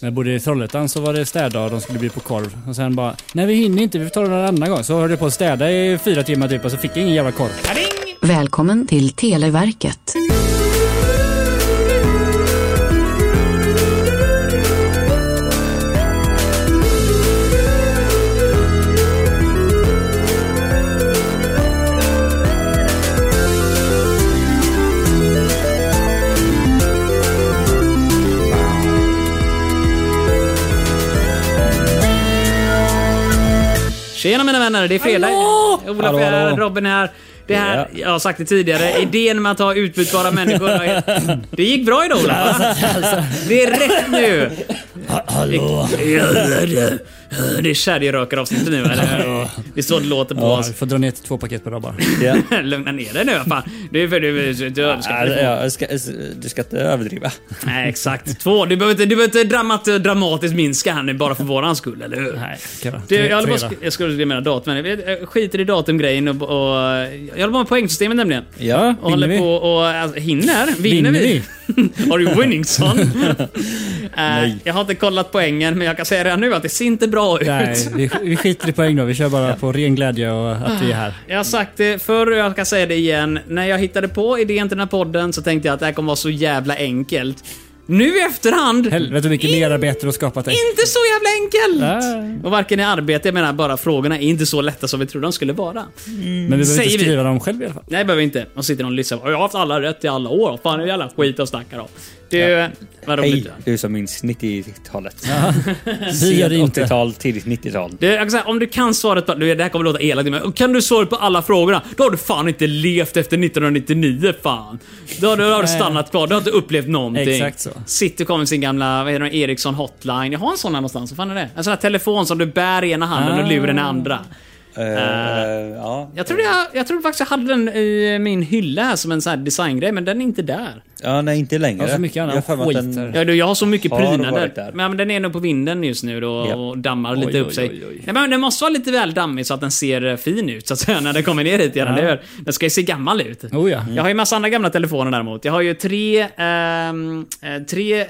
När jag bodde i Trollhättan så var det städdag och de skulle bli på korv. Och sen bara, nej vi hinner inte, vi får ta det någon annan gång. Så höll jag på att städa i fyra timmar typ och så fick jag ingen jävla korv. Välkommen till Televerket. Tjena mina vänner, det är fredag. Olof Hallå, här, hallå. Robin här. Det här, Ja. jag har sagt det tidigare, idén med att ha utbytbara människor. har helt- Det gick bra idag Olof. va? Det är rätt nu. Hallå. Det är kärringrökaravsnittet nu eller? Det är så det låter på Ja, oss. vi får dra ner till två paket per dag bara. Ja. Lugna ner dig nu fan. Det är för du, du, du Ja, överskattar det. ja, ska, du ska inte överdriva. Nej exakt. Två. Du behöver inte, du behöver inte dramat, dramatiskt minska här nu bara för våran skull, eller hur? Nej, kan Du, jag, håller på, att sk- jag skulle mena datum, men jag- jag skiter i datumgrejen och, och eh, jag håller på med poängsystemet nämligen. Ja. Och Vinner håller vi? på och alltså, hinner? Vinner Vinner, vi? Har du winning son? Eh, jag har inte kollat poängen, men jag kan säga redan nu att det ser inte bra ut. Nej, vi, vi skiter i poäng då. Vi kör bara på ren glädje och att vi är här. Jag har sagt det förr och jag kan säga det igen. När jag hittade på idén till den här podden så tänkte jag att det här kommer vara så jävla enkelt. Nu i efterhand, Helvete hur mycket In- merarbete du har skapat dig. inte så jävla enkelt! Nej. Och varken i arbete, jag menar bara frågorna är inte så lätta som vi trodde de skulle vara. Men vi behöver Säger inte vi. skriva dem själv i alla fall. Nej, behöver inte. De sitter någon och lyssnar. Jag har haft alla rätt i alla år. Fan, det är jävla skit de snackar om. Du, vad roligt. Hej, du som minns 90-talet. Vi gör det Sent inte. 80-tal, tidigt 90-tal. Du, jag kan säga, om du kan svaret på... Du, det här kommer låta elakt, men kan du svaret på alla frågorna? Då har du fan inte levt efter 1999, fan. Då har du, då har du stannat kvar. Du har inte upplevt någonting. Exakt så. City kom med sin gamla, vad heter den, Ericsson hotline. Jag har en sån här någonstans. Vad fan är det? En sån här telefon som du bär i ena handen och luren i Ah. andra. Eh, ja. Jag trodde, jag, jag trodde faktiskt jag hade den i min hylla här som en sån här designgrej, men den är inte där. ja, nej inte längre. Ja, så mycket annat Jag har för mig att skit här. den, Ja, du, jag har så mycket Har prydnader. varit där. Men, men den är nog på vinden just nu då, Japp. och dammar lite Oj, upp oj, sig. oj, oj. Nej, men den måste vara lite väl dammig så att den ser eh, fin ut så att säga, när den kommer ner hit igen, eller hur? Den ska ju se gammal ut. Oh ja. Mm. Jag har ju massa andra gamla telefoner däremot. Jag har ju tre... ehm, eh, tre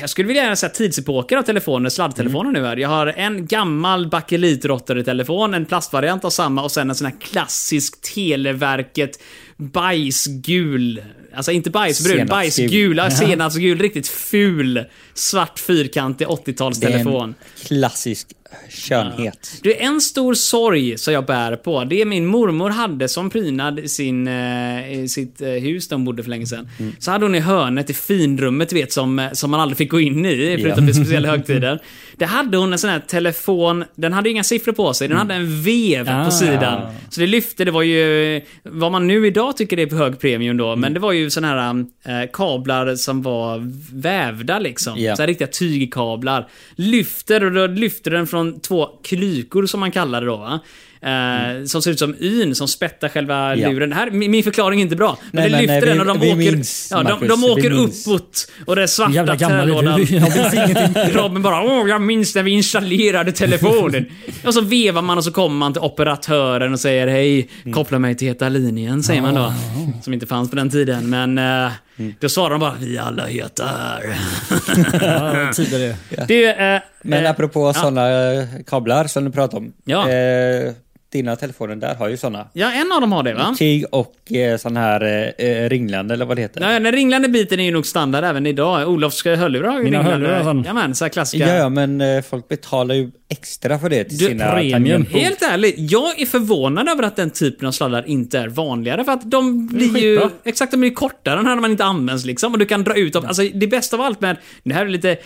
jag skulle vilja gärna säga tidsepoker av telefoner, sladdtelefoner Mm. nu här. Jag har en gammal bakelitrottertelefon, en plastvariant av samma och sen en sån här klassisk Televerket bajsgul. Alltså inte bajsbrun, Senapsgul. bajsgul, ja, senapsgul, riktigt ful svart fyrkantig det är en 80-talstelefon. klassisk skönhet. Det är en stor sorg som jag bär på. Det är min mormor hade som prydnad i, sin, eh, i sitt eh, hus där hon bodde för länge sedan. Så hade hon i hörnet i finrummet, du vet, som, eh, som man aldrig fick gå in i, förutom vid speciella högtider. Där hade hon en sån här telefon, den hade ju inga siffror på sig, den hade en vev på Ah. sidan. Så det lyfte, det var ju vad man nu idag tycker det är hög premium då, men det var ju såna här eh, kablar som var vävda liksom. Ja. Så här riktiga tygkablar. Lyfter och då lyfter den från två klykor som man kallar det då va. Eh, Som ser ut som yn som spettar själva Mm. Ja. luren. Det här, min, min förklaring är inte bra. Men Nej, det men, lyfter nej, den vi- och de vi åker, minns, ja, de, de Marcus, vi åker minns. uppåt. Och det är svarta Jävla gammal är trälådan. du. Jag minns ingenting. Robin bara Åh, jag minns när vi installerade telefonen. och så vevar man och så kommer man till operatören och säger Hej, koppla mig till Heta linjen, säger man då. Som inte fanns på den tiden, men eh, då svarar de bara Vi alla heter. Ja, tidigare. det, eh, Men eh, apropå ja. sådana eh, kablar som du pratade om. Ja. Eh, dina telefoner där har ju sådana. Ja, en av dem har det va? Tyg och eh, sån här eh, eh, ringland eller vad det heter. Nej, den ringlande biten är ju nog standard även idag. Olofs hörlurar har ju Mina ringlande. hörlurar har sån. Jajamän, så här klassiska. Ja, ja, men eh, folk betalar ju extra för det till Du, sina premium. tangentbord. Helt ärligt, jag är förvånad över att den typen av sladdar inte är vanligare. För att de blir ju... skitbra. Exakt, de blir ju kortare när man inte används liksom. Och du kan dra ut dem. Alltså, det bästa av allt med... Det här är lite...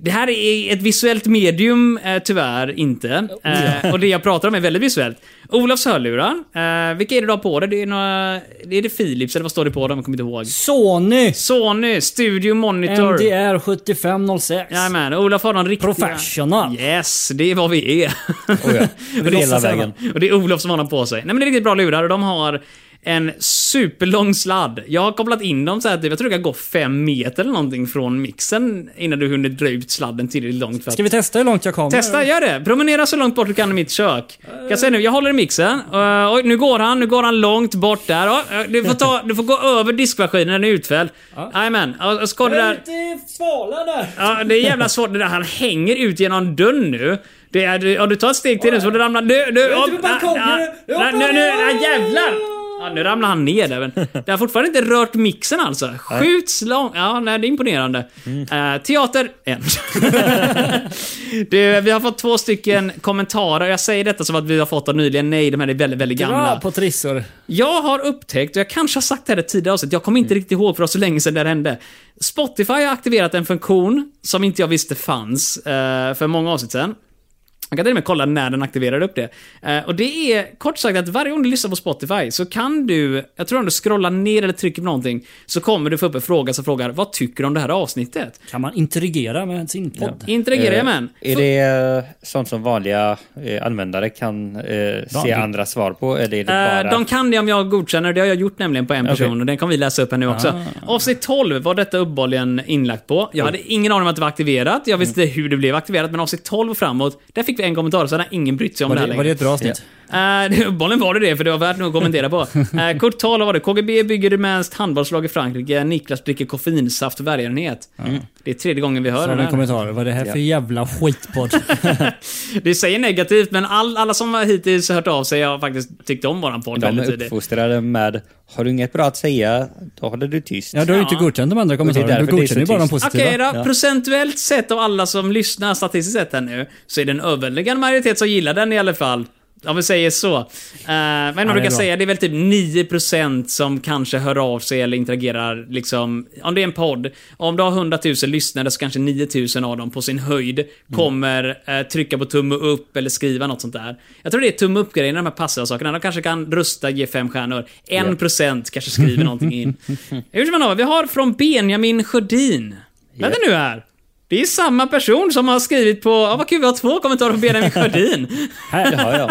Det här är ett visuellt medium, eh, tyvärr inte. Eh, och det jag pratar om är väldigt visuellt. Olofs hörlurar. Eh, vilka är det du har på dig? Det är några... Det är det Philips, eller vad står det på dem? Jag kommer inte ihåg. Sony Sony, Studio Monitor. MDR 7506. Jajamän, Olof har de riktiga... Professional. Yes, det är vad vi är. Oh ja, Och det hela låtsas jag vägen. vara. Och det är Olof som har dem på sig. Nej men det är riktigt bra lurar och de har en superlång sladd. Jag har kopplat in dem så här, typ, jag tror det kan gå fem meter eller någonting från mixen innan du hunnit dra ut sladden tillräckligt långt. För att... Ska vi testa hur långt jag kommer? Testa, gör det. Promenera så långt bort du kan i mitt kök. Kan jag säga nu, jag håller i mixen. Uh, oj, nu går han, nu går han långt bort där. Ja, eh, du, får ta, du får gå över diskmaskinen, den är utfälld. Jajamän. Uh, ska det där... lite svala där. Ja, det är jävla svårt. Det där, han hänger ut genom dörren nu. Det är, du- om du tar ett steg till nu så får du ramla... Nu, nu, är inte upp, på balkongen, ah, nu. ah, Jag nu, nu, hoppar nu, ner. ah, jävlar! Ja, nu ramlar han ner där, men det har fortfarande inte rört mixen alltså. Skjuts långt. Ja, nej, det är imponerande. Mm. Eh, teater, en. du, vi har fått två stycken kommentarer. Jag säger detta som att vi har fått dem nyligen. Nej, de här är väldigt, väldigt gamla. Bra på trissor. Jag har upptäckt, och jag kanske har sagt det här i ett tidigare avsnitt, jag kommer Mm. inte riktigt ihåg för det var så länge sedan det här hände. Spotify har aktiverat en funktion som inte jag visste fanns eh, för många avsnitt sedan. Man kan till och med kolla när den aktiverade upp det. Eh, och det är kort sagt att varje gång du lyssnar på Spotify så kan du, jag tror om du scrollar ner eller trycker på någonting, så kommer du få upp en fråga som frågar vad tycker du om det här avsnittet? Kan man interagera med sin podd? Interagerar jag med en? Eh, Är det eh, sånt som vanliga eh, användare kan eh, se andra svar på? Eller är det Eh, bara... De kan det om jag godkänner. Det har jag gjort nämligen på en person Okej. och den kan vi läsa upp här nu också. Avsnitt 12 var detta uppehållligen inlagt på. Jag hade ingen aning om att det var aktiverat. Jag visste inte hur det blev aktiverat, men avsnitt 12 och framåt, där fick vi en kommentar, så hade ingen brytt sig om Var det här det, var det ett bra avsnitt? Eh, Uppenbarligen var det det, för det var värt nog att kommentera på. Eh, Kort tal var det. KGB bygger rumänskt handbollslag i Frankrike. Niklas dricker koffeinsaft för välgörenhet. Det är tredje gången vi hör Så har den vi en här. kommentar. Vad är det här för jävla skitpodd? Det säger negativt, men all, alla som har hittills hört av sig har faktiskt tyckt om våran podd De väldigt är tidigt. uppfostrade med Har du inget bra att säga, då håller du tyst. Ja, du har ju inte Ja. godkänt de andra kommentarerna. Du därför det är godkänner ju så bara de tyst. positiva. Okej då, procentuellt sett av alla som lyssnar statistiskt sett här nu, så är det en överväldigande majoritet som gillar den i alla fall. Om vi säger så. Eh, men man det är brukar bra. säga, det är väl typ 9% som kanske hör av sig eller interagerar liksom. Om det är en podd, om du har 100 000 lyssnare så kanske 9000 av dem på sin höjd kommer eh, trycka på tumme upp eller skriva något sånt där. Jag tror det är tumme upp-grejen, de här passiva sakerna. De kanske kan rösta, ge fem stjärnor. 1% kanske skriver någonting in. Hur ska man ha? Vi har från Benjamin Sjödin. Vänta nu här. Det är samma person som har skrivit på... Ja, vad kul, vi har två kommentarer från Benjamin Sjödin. Det har jag.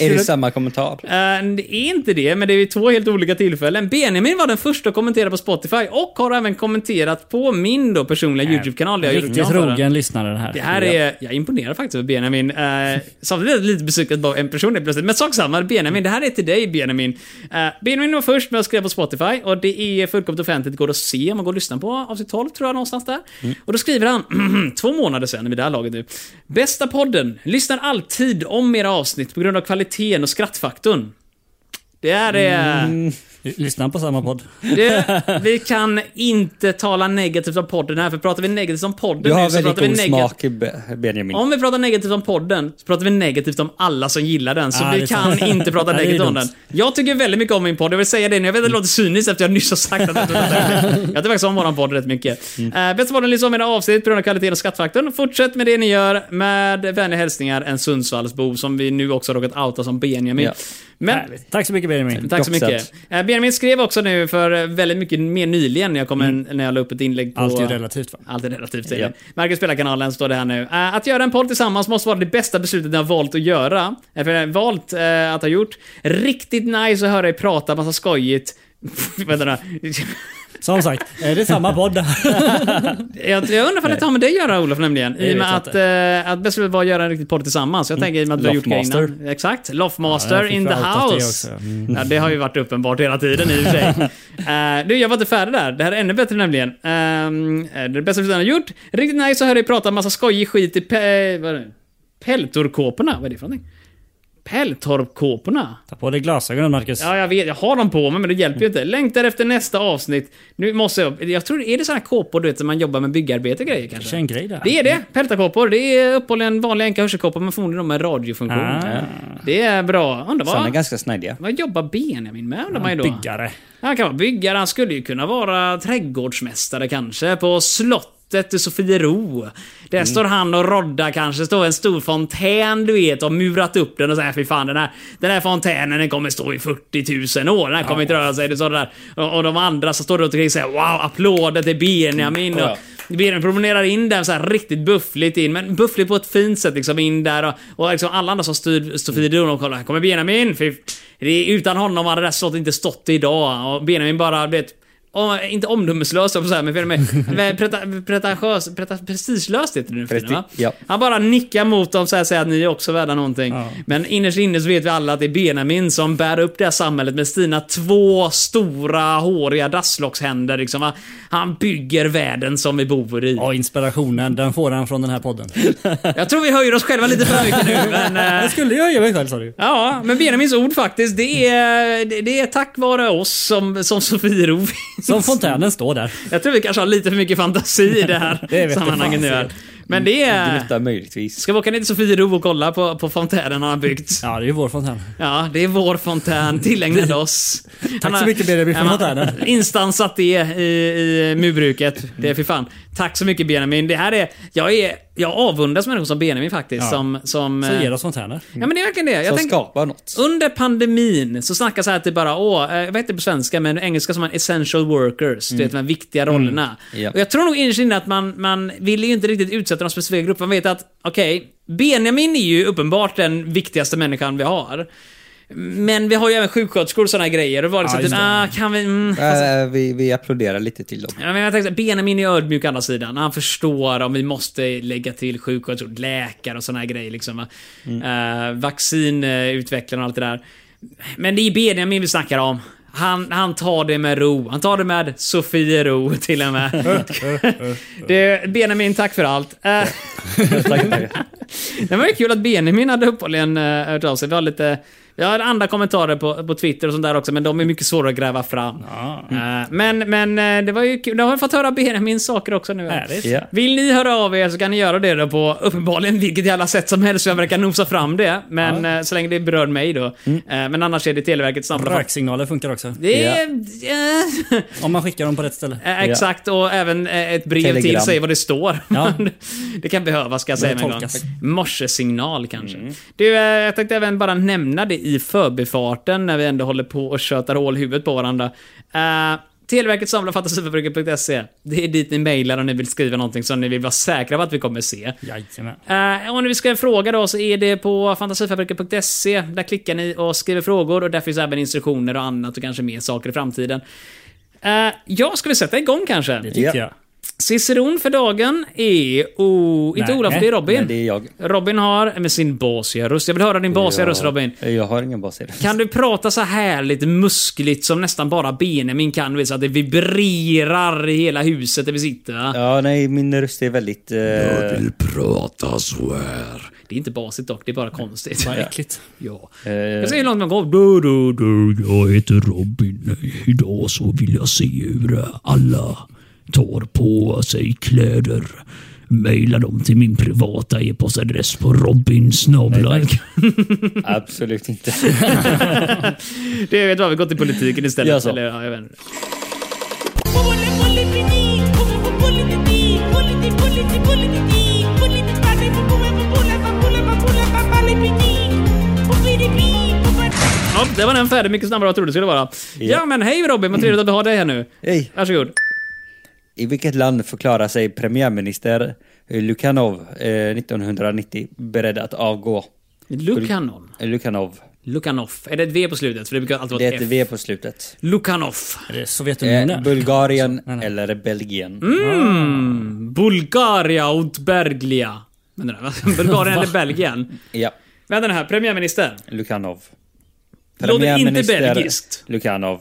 Är det samma kommentar? Eh, det är inte det, men det är vid två helt olika tillfällen. Benjamin var den första att kommentera på Spotify och har även kommenterat på min då personliga YouTube-kanal. där jag gjort Riktigt reklam för den. trogen lyssnare det här. Det här är... Jag imponerar faktiskt över Benjamin. Eh, samtidigt är jag lite besviken att bara en person är plötsligt. Men sak samma, Benjamin. Det här är till dig, Benjamin. Eh, Benjamin var först med att skriva på Spotify och det är fullkomligt offentligt. Går att se om man går och lyssnar på avsnitt 12, tror jag, någonstans där. Mm. Och då skriver han, två månader sedan vid det här laget nu. Bästa podden. Lyssnar alltid om era avsnitt på grund av kvaliteten och skrattfaktorn. Det här är... Mm. Mm. Lyssna på samma podd. Det, vi kan inte tala negativt om podden här, för pratar vi negativt om podden Du nu har så väldigt pratar vi god negativt... smak, Be- Benjamin. Om vi pratar negativt om podden, så pratar vi negativt om alla som gillar den. Så Ah, det vi är kan sant. inte prata Ja, det är negativt om dumt. den. Jag tycker väldigt mycket om min podd, jag vill säga det nu. Jag vet att det låter cyniskt efter jag nyss har sagt att jag inte pratar om den. Jag tycker faktiskt om våran podd rätt mycket. Mm. bästa podden lyssnar om era avsnitt på grund av kvaliteten och skattfaktorn. Fortsätt med det ni gör. Med vänliga hälsningar, en Sundsvallsbo som vi nu också har råkat outa som Benjamin. Ja. Men, Tack så mycket Benjamin. Tack så Dock mycket. Eh, Benjamin skrev också nu för eh, väldigt mycket mer nyligen när jag, kom en, när jag la upp ett inlägg på... Mm. Allt är ju relativt va? Allt är relativt Ja. tydligen. Marcus Spelarkanalen står det här nu. Eh, att göra en podd tillsammans måste vara det bästa beslutet ni har valt att göra. Eh, för jag har valt eh, att ha gjort. Riktigt nice att höra er prata massa skojigt. Vänta nu. Som sagt, är det samma podd? jag, jag undrar om det har med dig att göra Olof nämligen. I vet och med jag att, eh, att beslutet var att göra en riktig podd tillsammans. Jag tänker i och med att vi har gjort det Loftmaster. innan. Exakt. Loftmaster Ja, jag fick in the outat det house. också. Mm. Ja, det har ju varit uppenbart hela tiden i och för sig. Eh, du, jag var inte färdig där. Det här är ännu bättre nämligen. Ehm, eh, det bästa beslutet jag har gjort. Riktigt nice att höra er prata massa skojig skit i pe- eh, vad är det? peltorkåporna. Vad är det för någonting? Peltorpkåporna? Ta på dig glasögonen Marcus. Ja, jag vet. Jag har dem på mig, men det hjälper ju inte. Längtar efter nästa avsnitt. Nu måste jag... Jag tror, är det såna här kåpor du vet, som man jobbar med byggarbete och grejer Kanske kanske? en grej där. Det är det. Peltakåpor. Det är uppehållligen vanliga enka hörselkåpor, men förmodligen de med radiofunktion. Ah. Det är bra. Undrar Sådana är vad... ganska snajdiga. Vad jobbar Benjamin med undrar man ju då? Byggare. Han kan vara byggare, han skulle ju kunna vara trädgårdsmästare kanske, på slottet i Sofiero. Där står han och roddar kanske, står en stor fontän du vet, och murat upp den och säger fy fan den här, den här fontänen den kommer stå i 40 000 år, den här kommer inte röra sig. Det står det där. Och, och de andra som står runt omkring säger wow, applåder till Benjamin. Mm. Och, Ja. Benjamin promenerar in där så här riktigt buffligt in, men buffligt på ett fint sätt liksom in där och, och liksom alla andra som styr Sofiero, de kollar, här kommer Benjamin. Fy, det är, utan honom hade det här slottet inte stått idag. Och Benjamin bara, du vet, om, inte omdömeslös, jag får säga, men för mig, men preta- pretentiös, preta- prestigelöst heter det nu för tiden, va? Presti- ja. Han bara nickar mot dem så här, säger att ni är också värda någonting. Ja. Men innerst inne så vet vi alla att det är Benjamin som bär upp det här samhället med sina två stora håriga dasslockshänder. Liksom, va? Han bygger världen som vi bor i. Ja, inspirationen, den får han från den här podden. Äh. Jag tror vi höjer oss själva lite för mycket nu, men... eh, Jag skulle ju göra mig själv sa du. Ja, men Benjamins ord faktiskt, det är, det det är tack vare oss som, som Sofiero finns. Som fontänen står där. Jag tror vi kanske har lite för mycket fantasi i det här Det vet jag sammanhanget fan, nu. Här. Men det är... Gnutta möjligtvis. Ska vi åka ner till Sofiero och kolla på, på fontänen han har byggt? Ja, det är ju vår fontän. Ja, det är vår fontän, tillägnad oss. Han har- så mycket, Benjamin, för Ja, man- fontänen. Instansat det i, i murbruket. Det är för fan. Tack så mycket Benjamin. Det här är... Jag, är, jag avundas människor som Benjamin faktiskt. Ja. Som, som, Så eh, ger oss fontäner. Ja men det är verkligen det. Jag Som tänker- skapar något. under pandemin så snackas här typ bara, åh, eh, vad heter det på svenska, men engelska som man essential workers, du vet de här viktiga rollerna. Mm. Ja. Och jag tror nog innerst inne att man, man vill ju inte riktigt utsätta någon specifik grupp, man vet att, okej, Benjamin är ju uppenbart den viktigaste människan vi har. Men vi har ju även sjuksköterskor och sådana grejer. Och det var Ja, liksom typ, just det. ah, kan vi... Mm, Äh, vi, vi applåderar lite till dem. Ja, men jag tänkte, så här, Benjamin är ödmjuk å andra sidan. Han förstår om vi måste lägga till sjuksköterskor, läkare och såna här grejer. Liksom, va? Eh, vaccinutvecklarna och allt det där. Men det är Benjamin vi snackar om. Han, han tar det med ro. Han tar det med Sofiero till och med. det, Benjamin, tack för allt. Eh, Tack, tack. det var ju kul att Benjamin hade uppehållligen eh, hört av sig. Vi har lite... Vi har andra kommentarer på, på Twitter och sånt där också, men de är mycket svåra att gräva fram. Eh, Men, men eh, det var ju kul. Nu har vi fått höra Benjamins saker också nu. Härligt. Ja. Vill ni höra av er så kan ni göra det då på uppenbarligen vilket jävla sätt som helst. för Jag verkar nosa fram det. Men eh, så länge det berör mig då. Eh, Men annars är det Televerket snabbt. Röksignaler funkar också. Det är... eh, Om man skickar dem på rätt ställe. Eh, Exakt, och även eh, ett brev till Telegram. säger vad det står. Ja. det kan behövas, ska jag säga Det mig en gång. tolkas. Morsesignal kanske. Du, eh, jag tänkte även bara nämna det i förbifarten när vi ändå håller på och tjötar hål i huvudet på varandra. Eh, Televerket samlar fantasiförbrukare.se. E. Det är dit ni mejlar om ni vill skriva någonting som ni vill vara säkra på att vi kommer se. Jajamän. Eh, om ni ska fråga då så är det på fantasifabriken.se. Där klickar ni och skriver frågor och där finns även instruktioner och annat och kanske mer saker i framtiden. Eh, ja, ska vi sätta igång kanske? Det tyckte Ja. jag. Ciceron för dagen är... Oh, inte Nej. Olof, det är Men Robin. det är jag. Robin har med sin basiga röst. Jag vill höra din basiga röst Robin. Eh, Jag, jag har ingen bas i det. Kan du prata så härligt muskligt som nästan bara Benjamin kan? Du vet, så att det vibrerar i hela huset där vi sitter. va? Ja, nej, min röst är väldigt... Eh, vill prata så här. Det är inte basigt dock, det är bara konstigt. Vad äckligt. Ja. eh, Jag ser hur långt man går. Du, du, du, jag heter Robin. Idag så vill jag se hur alla tar på sig kläder. Maila dem till min privata e-postadress på robinsnabel... absolut inte. Det vet vad, vi går till politiken istället. Ja, så. Eller, ja, jag vet inte. Bulli, bulli, bulli, bulli, bulli, bulli, bulli, bulli, bulli, bulli, bulli, bulli, bulli, bulli, bulli, bulli, bulli, bulli, bulli, Ja, det var den färdig. Mycket snabbare än jag trodde det skulle vara. Ja, men hej Robin, vad trevligt att vi har dig här nu. Hej. Varsågod. I vilket land förklarar sig premiärminister eh, Lukanov eh, 1990 beredd att avgå? Lukanon. Lukanov. Lukanov. Är det ett V på slutet? För det brukar alltid vara Det är ett ett F. V på slutet. Lukanov. Är det Eh, Sovjetunionen? Bulgarien eller Belgien? Mm. Bulgaria och Berglia. Vänta nu, vad- Bulgarien eller Belgien? Ja, Vänta nu här, premiärminister. Lukanov. Låter inte belgiskt. Lukanov.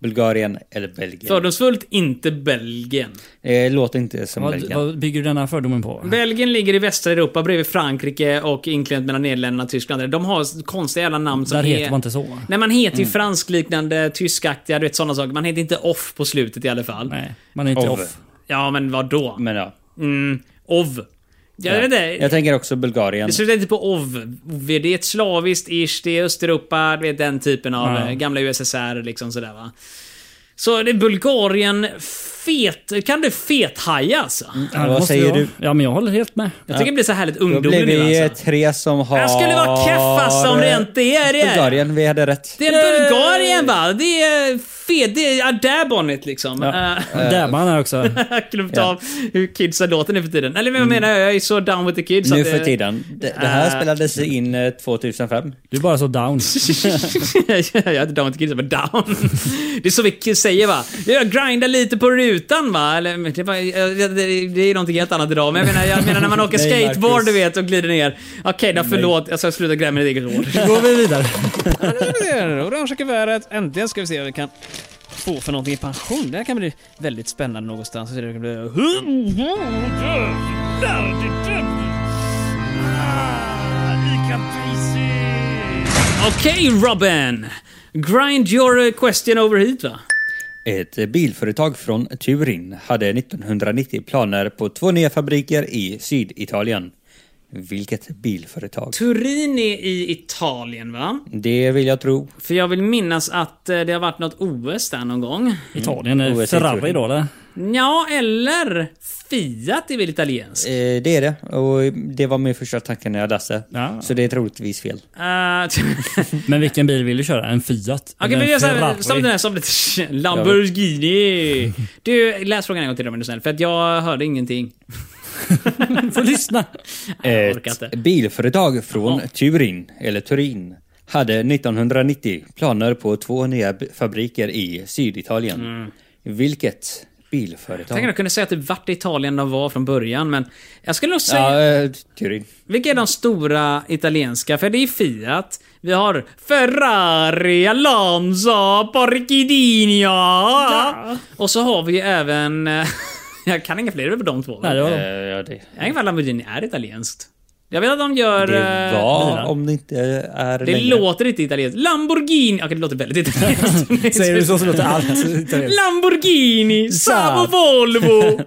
Bulgarien eller Belgien? Fördomsfullt inte Belgien. Eh, låter inte som Vad, Belgien. vad bygger du den här fördomen på? Belgien ligger i västra Europa bredvid Frankrike och inklämt mellan Nederländerna och Tyskland. De har konstiga jävla namn som Där är... heter man inte så. Mm. Nej, man heter ju franskliknande, tyskaktiga, du vet sådana saker. Man heter inte off på slutet i alla fall. Nej, man är inte Ov. off. Ja, men vad då? Men ja. Mm, ov. Jag vet inte. Jag tänker också Bulgarien. Det slutar inte på ov. Det är ett slaviskt ish, det är Östeuropa, du vet den typen av eh, gamla USSR liksom sådär va. Så det är Bulgarien, fet, kan du fethaja alltså? Ja, det Vad måste säger jag. du? Ja, men jag håller helt med. Jag tycker det blir så härligt Då blir ungdomlig nu vi eh, alltså. tre som har... Jag skulle vara keffast om det inte är det. Bulgarien, vi hade rätt. Det är Eh. Bulgarien va? Det är fet, det är Adabonnet liksom. Eh, Där man är också. Jag glömt av hur kidsen låter nu för tiden. Eller vad jag menar jag? Jag är så down with the kids. Nu att det- för tiden. Det, det här Eh. spelades in eh, 2005. Du är bara så down. jag är inte down with the kids, jag är bara down. det är så vi k- säger va? Jag grindar lite på rutan va? Eller, men det, var, eh, det, det är någonting helt annat idag, men jag menar, jag menar när man åker Nej, skateboard Marcus. du vet och glider ner. Okej då, förlåt. Alltså, Jag ska sluta gräva mitt eget hår. Då går vi vidare. Orangea kuvertet. Äntligen ska vi se vad vi kan få för någonting i pension. Det här kan bli väldigt spännande någonstans. Det kan bli... Okej Robin! Grind your eh, question over hit va? Ett bilföretag från Turin hade 1990 planer på två nya fabriker i Syditalien. Vilket bilföretag? Turin är i Italien va? Det vill jag tro. För jag vill minnas att eh, det har varit något OS där någon gång. Italien är Mm. Ferrari då eller? Ja, eller Fiat är väl italiensk? Eh, det är det. Och det var min första tanke när jag läste. Ja. Så det är troligtvis fel. Uh, Okej, Men vilken bil vill du köra? En Fiat? men Eller vi gör en såhär. Stopp den Ferrari? här, stopp den. Lamborghini. Du, läs frågan en gång till om du är snäll, för att jag hörde ingenting. Får lyssna. Jag orkar Ett inte. bilföretag från Turin, eller Turin, hade 1990 planer på två nya b- fabriker i Syditalien. Vilket Jag Mm. tänker att bilföretag? jag kunde säga typ vart i Italien de var från början, men jag skulle nog säga... Ja, eh, Turin. Vilka är de stora italienska? För det är Fiat. Vi har Ferrari, Alonso, Porchidinio. Och så har vi ju även... jag kan inga fler över de två. va? Nej, det var Eh, de. ja, det. Jag vet inte om Lamborghini är italienskt. Jag vet att de gör... Det eh, var, om det inte är Det låter inte italienskt. Lamborghini! Okej, det låter väldigt italienskt. Säger du så så låter allt italienskt. Lamborghini, Saab och Volvo.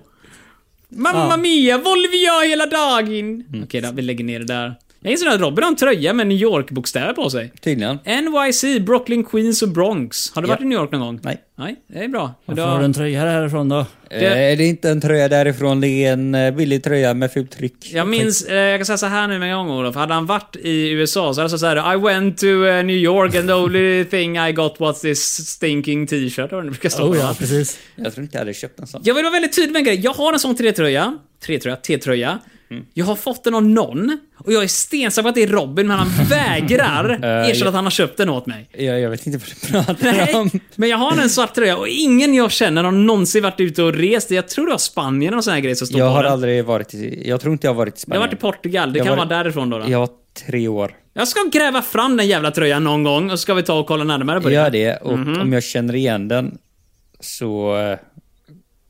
Mamma mia, Volvia hela dagen. Mm. Okej då, vi lägger ner det där. Jag inser att Robin har en tröja med New York-bokstäver på sig. Tydligen. NYC, Brooklyn, Queens och Bronx. Har du Ja. varit i New York någon gång? Nej. Nej, det är bra. För Varför då- har du en tröja härifrån då? Det... Eh, det är inte en tröja därifrån, det är en eh, billig tröja med fult tryck. Jag minns, eh, jag kan säga så här nu med en gång Olof. Hade han varit i USA så hade han sagt så här: I went to eh, New York and the only thing I got was this stinking t-shirt. Eller vad det brukar stå. Oh ja, precis. Jag tror inte jag hade köpt en sån. Jag vill vara väldigt tydlig med en grej. Jag har en sån T-tröja. T-tröja? T-tröja. Jag har fått den av någon. Och jag är stensäker på att det är Robin, men han vägrar erkänna att han har köpt den åt mig. Jag, jag vet inte vad du pratar Nej, om. men jag har en svart tröja och ingen jag känner har någonsin varit ute och rest. Jag tror det var Spanien eller någon sån här grej som stod Jag på har den. aldrig varit i... Jag tror inte jag har varit i Jag har Spanien. varit i Portugal, det Jag kan var- vara därifrån då. då. Jag var tre år. Jag ska gräva fram den jävla tröjan någon gång och så ska vi ta och kolla närmare på det. Gör det och Mhm. om jag känner igen den så... eh,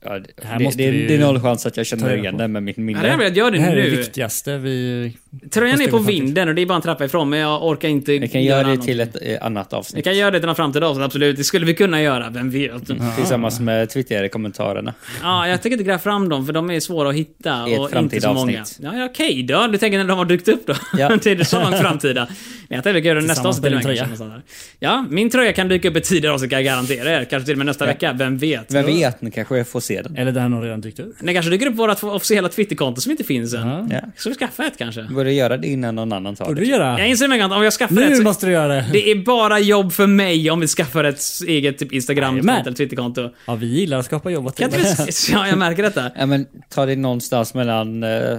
Ja, det, Här det, måste det, vi ju det är noll chans att jag ta känner reda igen på. den med mitt Ja, det här vill jag minne. göra det Det här är det nu. viktigaste vi... Tröjan är måste på vi faktiskt- vinden och det är bara en trappa ifrån men jag orkar inte... Vi kan göra det till ett eh, annat Vi avsnitt. kan göra det till någon framtida avsnitt, absolut. Det skulle vi kunna göra, vem vet? Mm. Tillsammans med Twitter-kommentarerna. Ja, jag tänker inte gräva fram dem för de är svåra att hitta I ett och inte framtida så många. avsnitt. Ja, ja, okej då. Du tänker när de har dykt upp då? Ja. det är så långt framtida. Men jag tänker vi kan göra det nästa Tillsammans avsnitt. med din eller kanske någonstans där. Ja, min tröja kan dyka upp i tidigare avsnitt kan jag garantera er. Kanske till och med nästa vecka, vem vet? Vem vet, nu kanske jag får se den. Eller den har redan dykt upp. Det kanske dyker upp på vårt officiella Twitterkonto som inte finns än. Ja. Ja. Ska vi skaffa ett kanske? Borde göra det innan någon annan tar Får det. du göra? Jag inser med att om jag skaffar ett Nu så... måste du göra det. Det är bara jobb för mig om vi skaffar ett eget typ Instagram Jajamän. eller Twitterkonto. Ja, vi gillar att skapa jobb åt Kan inte vi... Ja, jag märker detta. Ja, men ta det någonstans mellan, eh,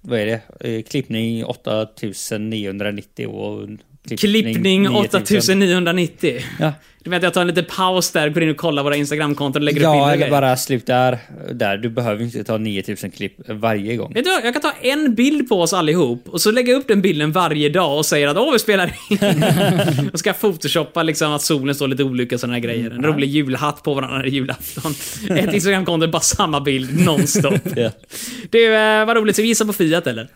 vad är det, eh, klippning 8990 och klippning, Klippning 9000. 8990. Ja, Du menar att jag tar en liten paus där, går in och kollar våra Instagramkonton och lägger upp ja mindre eller grejer. bara sluta där. Du behöver inte ta 9000 klipp varje gång. Vet du vad? Jag kan ta en bild på oss allihop och så lägga upp den bilden varje dag och säga att åh, vi spelar in. och ska photoshoppa liksom att solen står lite olika och sådana här grejer. En rolig julhatt på varandra i julafton. Ett Instagramkonto, bara samma bild nonstop. Ja. Du, eh, vad roligt. Ska vi gissa på Fiat eller?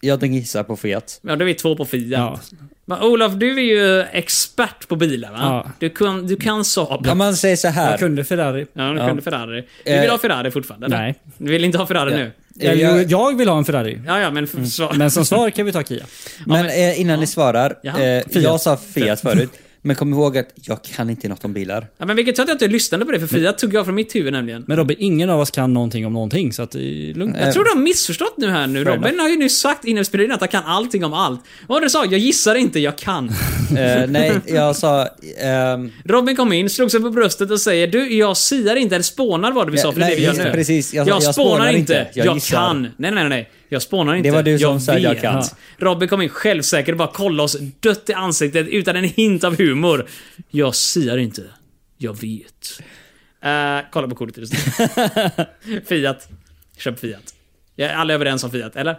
Jag tänker gissa på Fiat. Ja, då är vi två på Fiat. Ja. Men Olof, du är ju expert på bilar va? Ja. Du kan, du kan Saab. Kan man säga så Jag här? kunde Ferrari. Ja, du Ja. kunde Ferrari. Du vill Eh, ha Ferrari fortfarande? eller? nej. Du vill inte ha Ferrari Ja. nu? Jag, Jag, jag vill ha en Ferrari. Ja, ja, men Mm. för, så, Men som svar kan vi ta Kia. men eh, innan ni svarar. Jaha. Eh, Fiat. jag sa Fiat förut. Men kom ihåg att jag kan inte något om bilar. Ja, men vilket tur att jag inte lyssnade på det, för Fia tog jag från mitt huvud nämligen. Men Robin, ingen av oss kan någonting om någonting, så att eh, det är Mm. lugnt. Jag Eh. tror de har missförstått nu här nu. Robin har ju nyss sagt innan vi spelade in att han kan allting om allt. Vad var det du sa? Jag gissar inte, jag kan. Eh, nej, jag sa... ehm, Robin kom in, slog sig på bröstet och säger du, jag siar inte eller spånar var det vi sa, för det är det vi gör just- nu. precis. Jag Jag, sa, spånar, inte, jag, gissar. kan. Nej, nej, nej, nej. Jag spånar inte, var du som jag sa, vet. jag kan. Robin kom in självsäker och bara kollade oss dött i ansiktet utan en hint av humor. Jag siar inte, jag vet. Eh, kolla på kortet just nu. Fiat. Köp Fiat. Jag är alla överens om Fiat, eller?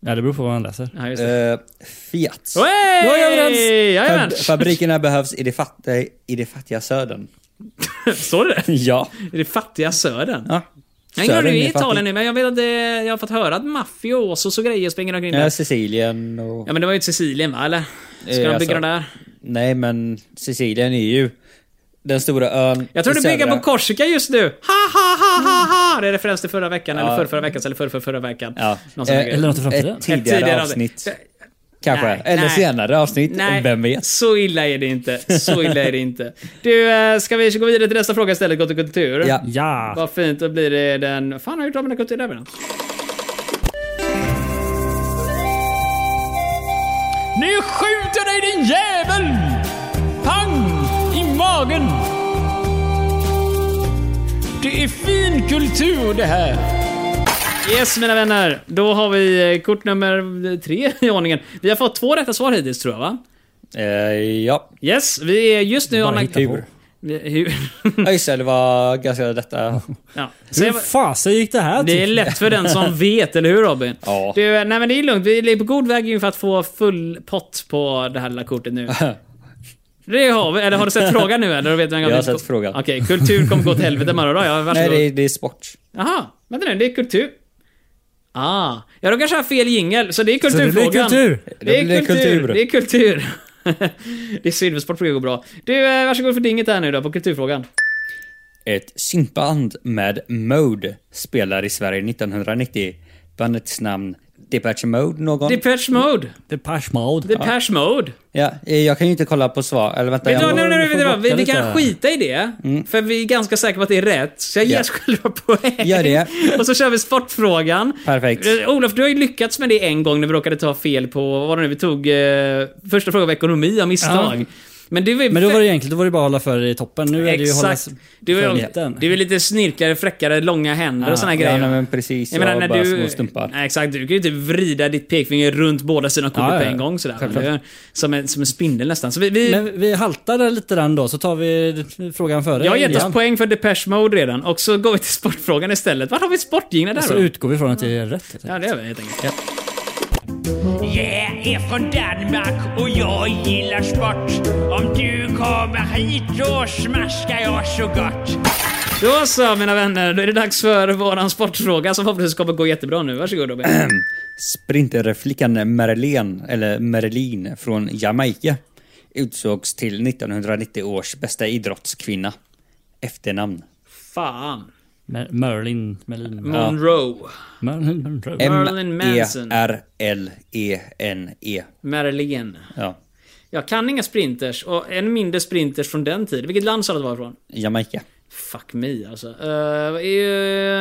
Ja, det beror på vad man läser. Ja, just det. Eh, Fiat. Hey! Då är jag överens. Jajamän. Fab- fabrikerna behövs i det, fatta, i det fattiga södern. Står det det? Ja. I det fattiga södern. ja. Jag ingen aning Södern hur det är i fattig. Italien nu, men jag vet att det, jag har fått höra att mafiosos och grejer springer omkring Ja, där. Sicilien och... Ja, men det var ju inte Sicilien va, eller? Ska Eh, de alltså- bygga den där? Nej, men Sicilien är ju den stora ön Jag tror i du bygger södra- på Korsika just nu! Ha, ha, ha, ha, ha! Det är referens till förra veckan, eller förra, förra veckans, eller förra, förra, förra veckan. Ja. Någon sån här Eh, grej. Eller något i framtiden. Ett tidigare, avsnitt. Kanske. Nej, Eller nej. senare avsnitt. Eh, Nej, Vem vet? så illa är det inte. Så illa är det inte. Du, eh, ska vi gå vidare till nästa fråga istället, Gott och kultur? Ja. Ja! Vad fint, då blir det den... Fan, har jag gjort av mina kultur där medan? Nu skjuter dig din jävel! Pang! I magen! Det är fin kultur det här. Yes mina vänner, då har vi eh, kort nummer tre i ordningen. Vi har fått två rätta svar hittills tror jag va? Eh, ja. Yes, vi är just nu... Bara online- hitta på. Vi- hur- Ja, just det. Det var ganska detta. ja. Så Hur jag, fasen gick det här det är till? lätt för den som vet, eller hur Robin? typ. Ja. Du, eh, nej men det är lugnt, vi är på god väg in för att få full pott på det här lilla kortet nu. Det har vi, eller har du sett frågan nu eller? Vet du vem Jag har vi- sett frågan. Okej, kultur kommer gå till helvete med då. Ja, Nej, varsågod. det är, det är sport. Aha, vänta nu, det är kultur. Ah, jag råkar köra fel jingel, så det är Så det kulturfrågan. blir kultur. Det är Då blir kultur. det kultur. Det är kultur. det är synd, för sportprogram går bra. Du, eh, varsågod för dinget här nu då, på kulturfrågan. Ett syntband med Mode spelar i Sverige 1990. Bandets namn Depeche Mode någon? Depeche Mode. Depeche Mode. Depeche Mode. ja, eh, jag kan ju inte kolla på svar. Eller vänta, Vet du jag vad, nej, nej, nej, vi får vet du vad? Vi, backa vi kan lite här. skita i det, för vi är ganska säkra på att det är rätt. Så jag ger Ja. oss själva poäng. Gör det. Och så kör vi sportfrågan. Perfekt. Eh, Olof, du har ju lyckats med det en gång när vi råkade ta fel på, vad var det nu vi tog, eh, första frågan var ekonomi av misstag. Ja. Men du är Men då var det egentligen, då var det bara att hålla för i toppen. Nu är det ju hålla Exakt. Du för är, mitten. du är lite snirkligare, fräckare, långa händer och såna ja, grejer. nej, men precis. Jag, Jag menar bara när du... småstumpar. Nej, exakt, du kan ju typ vrida ditt pekfinger runt båda sidorna av kortet Ja, ja, på ja. en gång sådär. Det är som, en, som en spindel nästan. Så vi, vi, Men vi haltar där lite den då, så tar vi frågan före. jag har gett igen. oss poäng för Depeche Mode redan och så går vi till sportfrågan istället. Vart har vi sportgingen där Så då? utgår vi från att det är rätt. Ja, det gör vi helt enkelt. Jag är från Danmark och jag gillar sport. Om du kommer hit då smaskar jag så gott. Då så, mina vänner. Då är det dags för våran sportfråga som förhoppningsvis kommer gå jättebra nu. Varsågod Robin. Sprinterflickan Marilyn, eller Marilyn från Jamaica utsågs till 1990 års bästa idrottskvinna. Efternamn. Fan. Mer- Merlin, Merlin, Monroe. Merlin, Merlin. Marilyn Manson. E M-E-R-L-E-N-E. Marilyn. E Ja, Jag kan inga sprinters och än mindre sprinters från den tiden. Vilket land sa du att det var ifrån? Jamaica. Fuck me alltså. Eh, eh,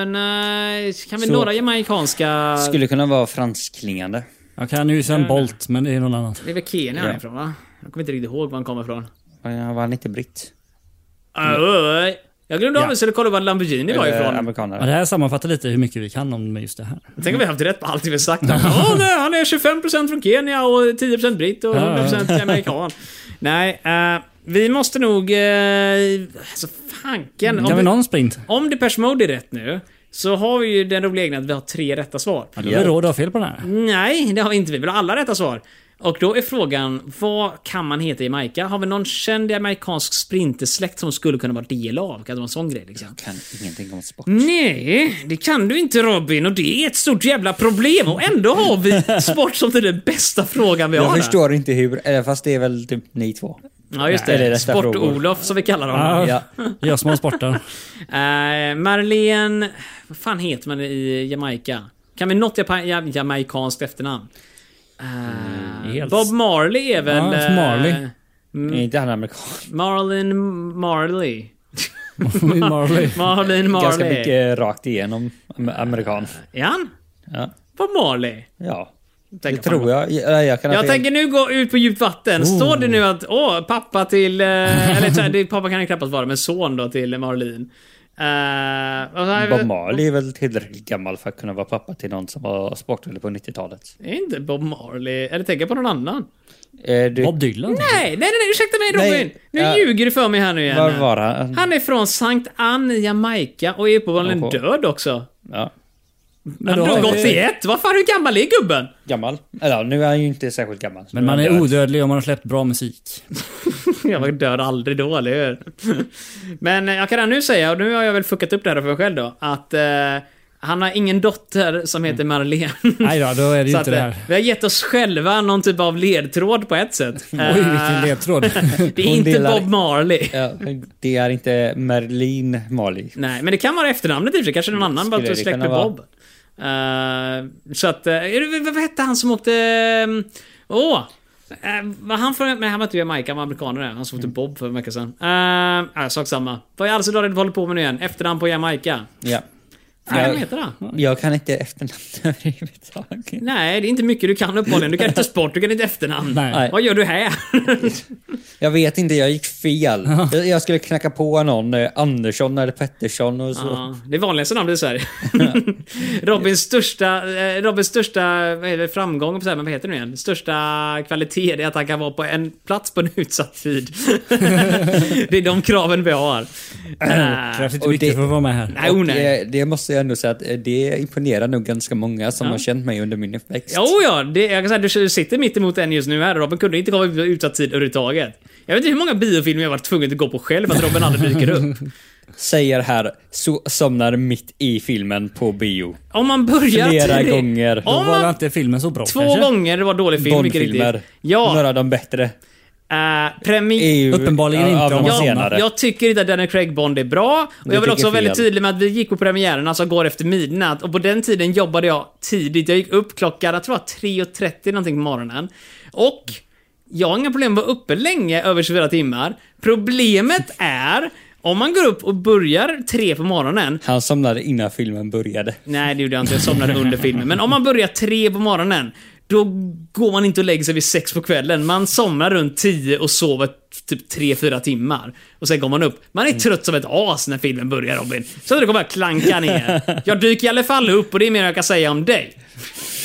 nej, kan vi Så- några jamaicanska... Skulle kunna vara franskklingande. Jag kan ju sen Bolt, men det är någon annan. Det är väl Kenya han är Ja. ifrån va? Jag kommer inte riktigt ihåg var han kommer ifrån. Mm. Var var han inte britt? Oj. Jag glömde av att vi skulle kolla var Lamborghini var Eller ifrån. Ja, Eh, amerikanare. det här sammanfattar lite hur mycket vi kan om just det här. Tänk om vi haft rätt på allt vi sagt. Ja, nej, han är 25% från Kenya och 10% britt och 100% amerikan. Nej, eh, vi måste nog... Uh, alltså fanken. om Mm. Kan vi vi- någon sprint? Om Depeche Mode är rätt nu, så har vi ju den roliga egenheten att vi har tre rätta svar. Ja, det är råd att ha fel på den här. Nej, det har vi inte. Vi vill ha alla rätta svar. Och då är frågan, vad kan man heta i Jamaica? Har vi någon känd amerikansk sprintersläkt som skulle kunna vara del av? Kan det vara en sån grej liksom? Kan ingenting om sport. Nej, det kan du inte Robin och det är ett stort jävla problem och ändå har vi sport som till den bästa frågan vi har. Jag här. förstår inte hur, eller fast det är väl typ ni två. Ja, just Nej, det är det. rätta frågor. Sport-Olof som vi kallar honom. Ja. Ja. Jag som har sporten. Eh, Marlene... Vad fan heter man i Jamaica? Kan vi något japa- ja, jamaikanskt efternamn? Eh, Mm, helt- Bob Marley är väl... Ja, Marley. eh, Är inte han amerikan? Marlin Marley. Marley. Marlin Marley. Ganska mycket rakt igenom am- amerikan. Är han? Ja. Vad Marley? ja. Det Tänker tror fan- jag. Jag, jag, Oh. kan ha Jag fel. tänker nu gå ut på djupt vatten. Står det nu att åh, pappa till... eh, Eller så här, det, pappa kan ju knappast vara, men son då till Marlin. Eh, och så här- Bob Marley är väl tillräckligt gammal för att kunna vara pappa till någon som var sportvillig på 90-talet. Är inte Bob Marley... Eller tänker jag på någon annan? Eh, du, Bob Dylan? Nej, nej, nej, nej, ursäkta mig Robin! Nej, nu ja. ljuger du för mig här nu igen. Var var han? Han är från Sankt Ann i Jamaica och är uppenbarligen Jaha. död också. Ja. Han då dog har vi- 81! Vad fan, hur gammal är gubben? Gammal. Eller ja, nu är han ju inte särskilt gammal. Men man Död. är odödlig om man har släppt bra musik. Jag var död aldrig då, eller hur? Men eh, jag kan redan nu säga, och nu har jag väl fuckat upp det här för mig själv då, att eh, han har ingen dotter som heter Marlene. Mm. Nej då, då är det ju Så att, inte det eh, här. vi har gett oss själva någon typ av ledtråd på ett sätt. Eh, Oj, vilken ledtråd. det är Hon inte delar- Bob Marley. Ja, det är inte Merlin Marley. Nej, men det kan vara efternamnet i och för sig. Kanske någon annan bara Mm, Skulle det släkt med kunna vara? Bob. Eh, så att... eh, är det- vad hette han som åkte... ehm, Åh! eh, var han från... Nej, han var inte Jamaica, han var amerikaner. Han som åkte Mm. Bob för en vecka sedan. Uh, sak samma. Vad är alltså David håller på med nu igen? Efternamn på Jamaica. Ja. Nej, vad Jag, heter han? jag kan inte efternamn överhuvudtaget. Nej, det är inte mycket du kan uppenbarligen. Du kan inte sport, du kan inte efternamn. Nej. Vad gör du här? Jag vet inte, jag gick fel. Jag, jag skulle knacka på någon, eh, Andersson eller Pettersson och så. Ja, det är vanligaste namnet i Sverige. Robins största, eh, Robins största vad är det, framgång, på så här, men vad heter det nu igen? Största kvalitet är att han kan vara på en plats på en utsatt tid. det är de kraven vi har. Eh, Krävs inte Och mycket det- för att vara med här. nej, oh, Och nej. det, det måste jag ändå säga att eh, det imponerar nog ganska många som har känt mig under min uppväxt. Jo, Eh, ja, det, jag kan säga, du sitter mitt emot en just nu här. Robin kunde inte komma på utsatt tid överhuvudtaget. Jag vet inte hur många biofilmer jag varit tvungen att gå på själv för att Robin aldrig dyker upp. Säger här, so somnar mitt i filmen på bio. Om man börjar Flera gånger. Då Om var man, väl inte filmen så bra två kanske? gånger det var dålig film, vilket Bondfilmer. E riktigt... Ja, Några av de bättre. eh, premiär... EU, Uppenbarligen inte om av de man senare. somnar. Jag tycker inte att Daniel Craig Bond är bra. Och Det jag vill också tycker vara väldigt fel. tydlig med att vi gick på premiären, alltså går efter midnatt. Och på den tiden jobbade jag tidigt. Jag gick upp klockan, jag tror det var 3.30 någonting på morgonen. Och jag har inga problem med att vara uppe länge, över 24 timmar. Problemet är om man går upp och börjar tre på morgonen, Han somnade innan filmen började. Nej, det gjorde jag inte. Jag somnade under filmen. Men om man börjar tre på morgonen, då går man inte och lägger sig vid sex på kvällen. Man somnar runt tio och sover typ tre, fyra timmar. Och sen går man upp. Man Mm. är trött som ett as när filmen börjar, Robin. Så det kommer jag klanka ner. Jag dyker i alla fall upp och det är mer jag kan säga om dig.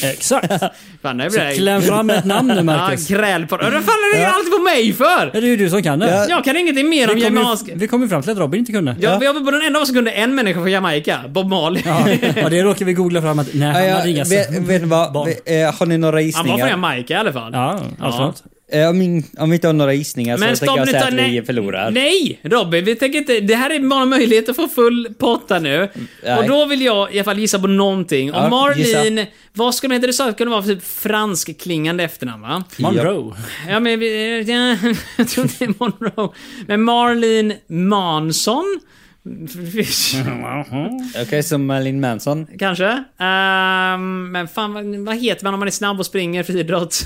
Exakt. Fan, det Så blir kläm fram ett namn nu Ja, Marcus. gräl på... Vad fan är det ni alltid på mig för? Ja, det är ju du som kan det. Ja. Jag kan ingenting mer om Vi kom, jamaicansk... ju, vi kom ju fram till att Robin inte kunde. Jag, jag var på den enda av oss som kunde en människa från Jamaica. Bob Marley. Ja, ja, det råkade vi googla fram att nej, Ja, han ja, hade inga vet, vet ni vad? barn. Vi- eh, Har ni några Han var gissningar? från Jamaica i alla fall. Ja, alltså. Ja. Eh, om, in, om vi inte har några gissningar så tänker Alltså, jag nu, säga ta- att vi förlorar. Nej, Robin, vi tänker inte... Det här är bara en möjlighet att få full potta nu. nej. Och då vill jag i alla fall gissa på någonting. Och Ja, Marlene, gissa. vad skulle hon heta? Det skulle kunna vara för typ fransk klingande efternamn, va? Monroe. Ja, men... vi- eh, Ja, jag tror inte det är Monroe. Men Marlene Manson? Okej, så Marilyn Manson. Kanske? Ehm, men fan, vad- vad heter man om man är snabb och springer friidrott?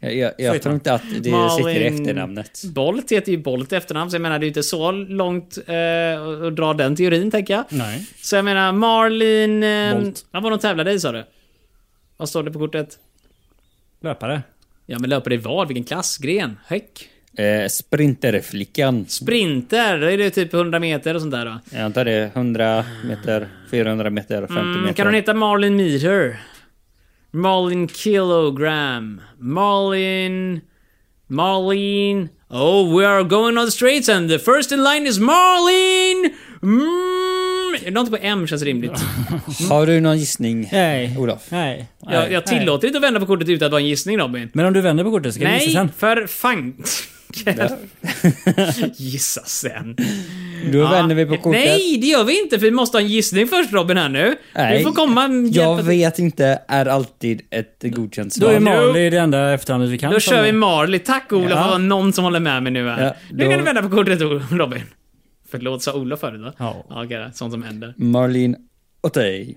Jag, jag, jag tror inte att det sitter i Malin- efternamnet. Bolt heter ju Bolt i efternamn, så jag menar det är ju inte så långt eh, att dra den teorin, tänker jag. Nej. Så jag menar Marlin... Eh, Bolt. vad var de tävlade i sa du? Vad står det på kortet? Löpare. Ja men löpare i vad? Vilken klass? Gren? Häck? Eh, Sprinterflickan. Sprinter? Då är det typ 100 meter och sånt där va? Jag antar det är 100 meter, 400 meter, 50 Mm, meter. kan hon heta Marlin Meter? Marlin Kilogram? Marlin... Marlin... Oh, we are going on the streets and the first in line is Marlin! Mm, något på M känns rimligt. Har du någon gissning? Nej. Olof. Nej. Jag, jag tillåter inte att vända på kortet utan att vara en gissning Robin. Men om du vänder på kortet så kan du Nej, gissa sen. för fan. Gissa sen. Då Ja. vänder vi på kortet. Nej, det gör vi inte för vi måste ha en gissning först Robin här nu. Nej. Du får komma och hjälpa Jag till. vet inte, är alltid ett godkänt Då svar. är Marley det enda efterhandet vi kan. Då som- kör vi Marley. Tack Olof, Ja. det var någon som håller med mig nu här. Ja, Nu då- kan du vända på kortet Robin. Förlåt, sa Olof förut va? Ja. Ja, okej, det är sånt som händer. Marlene Otey.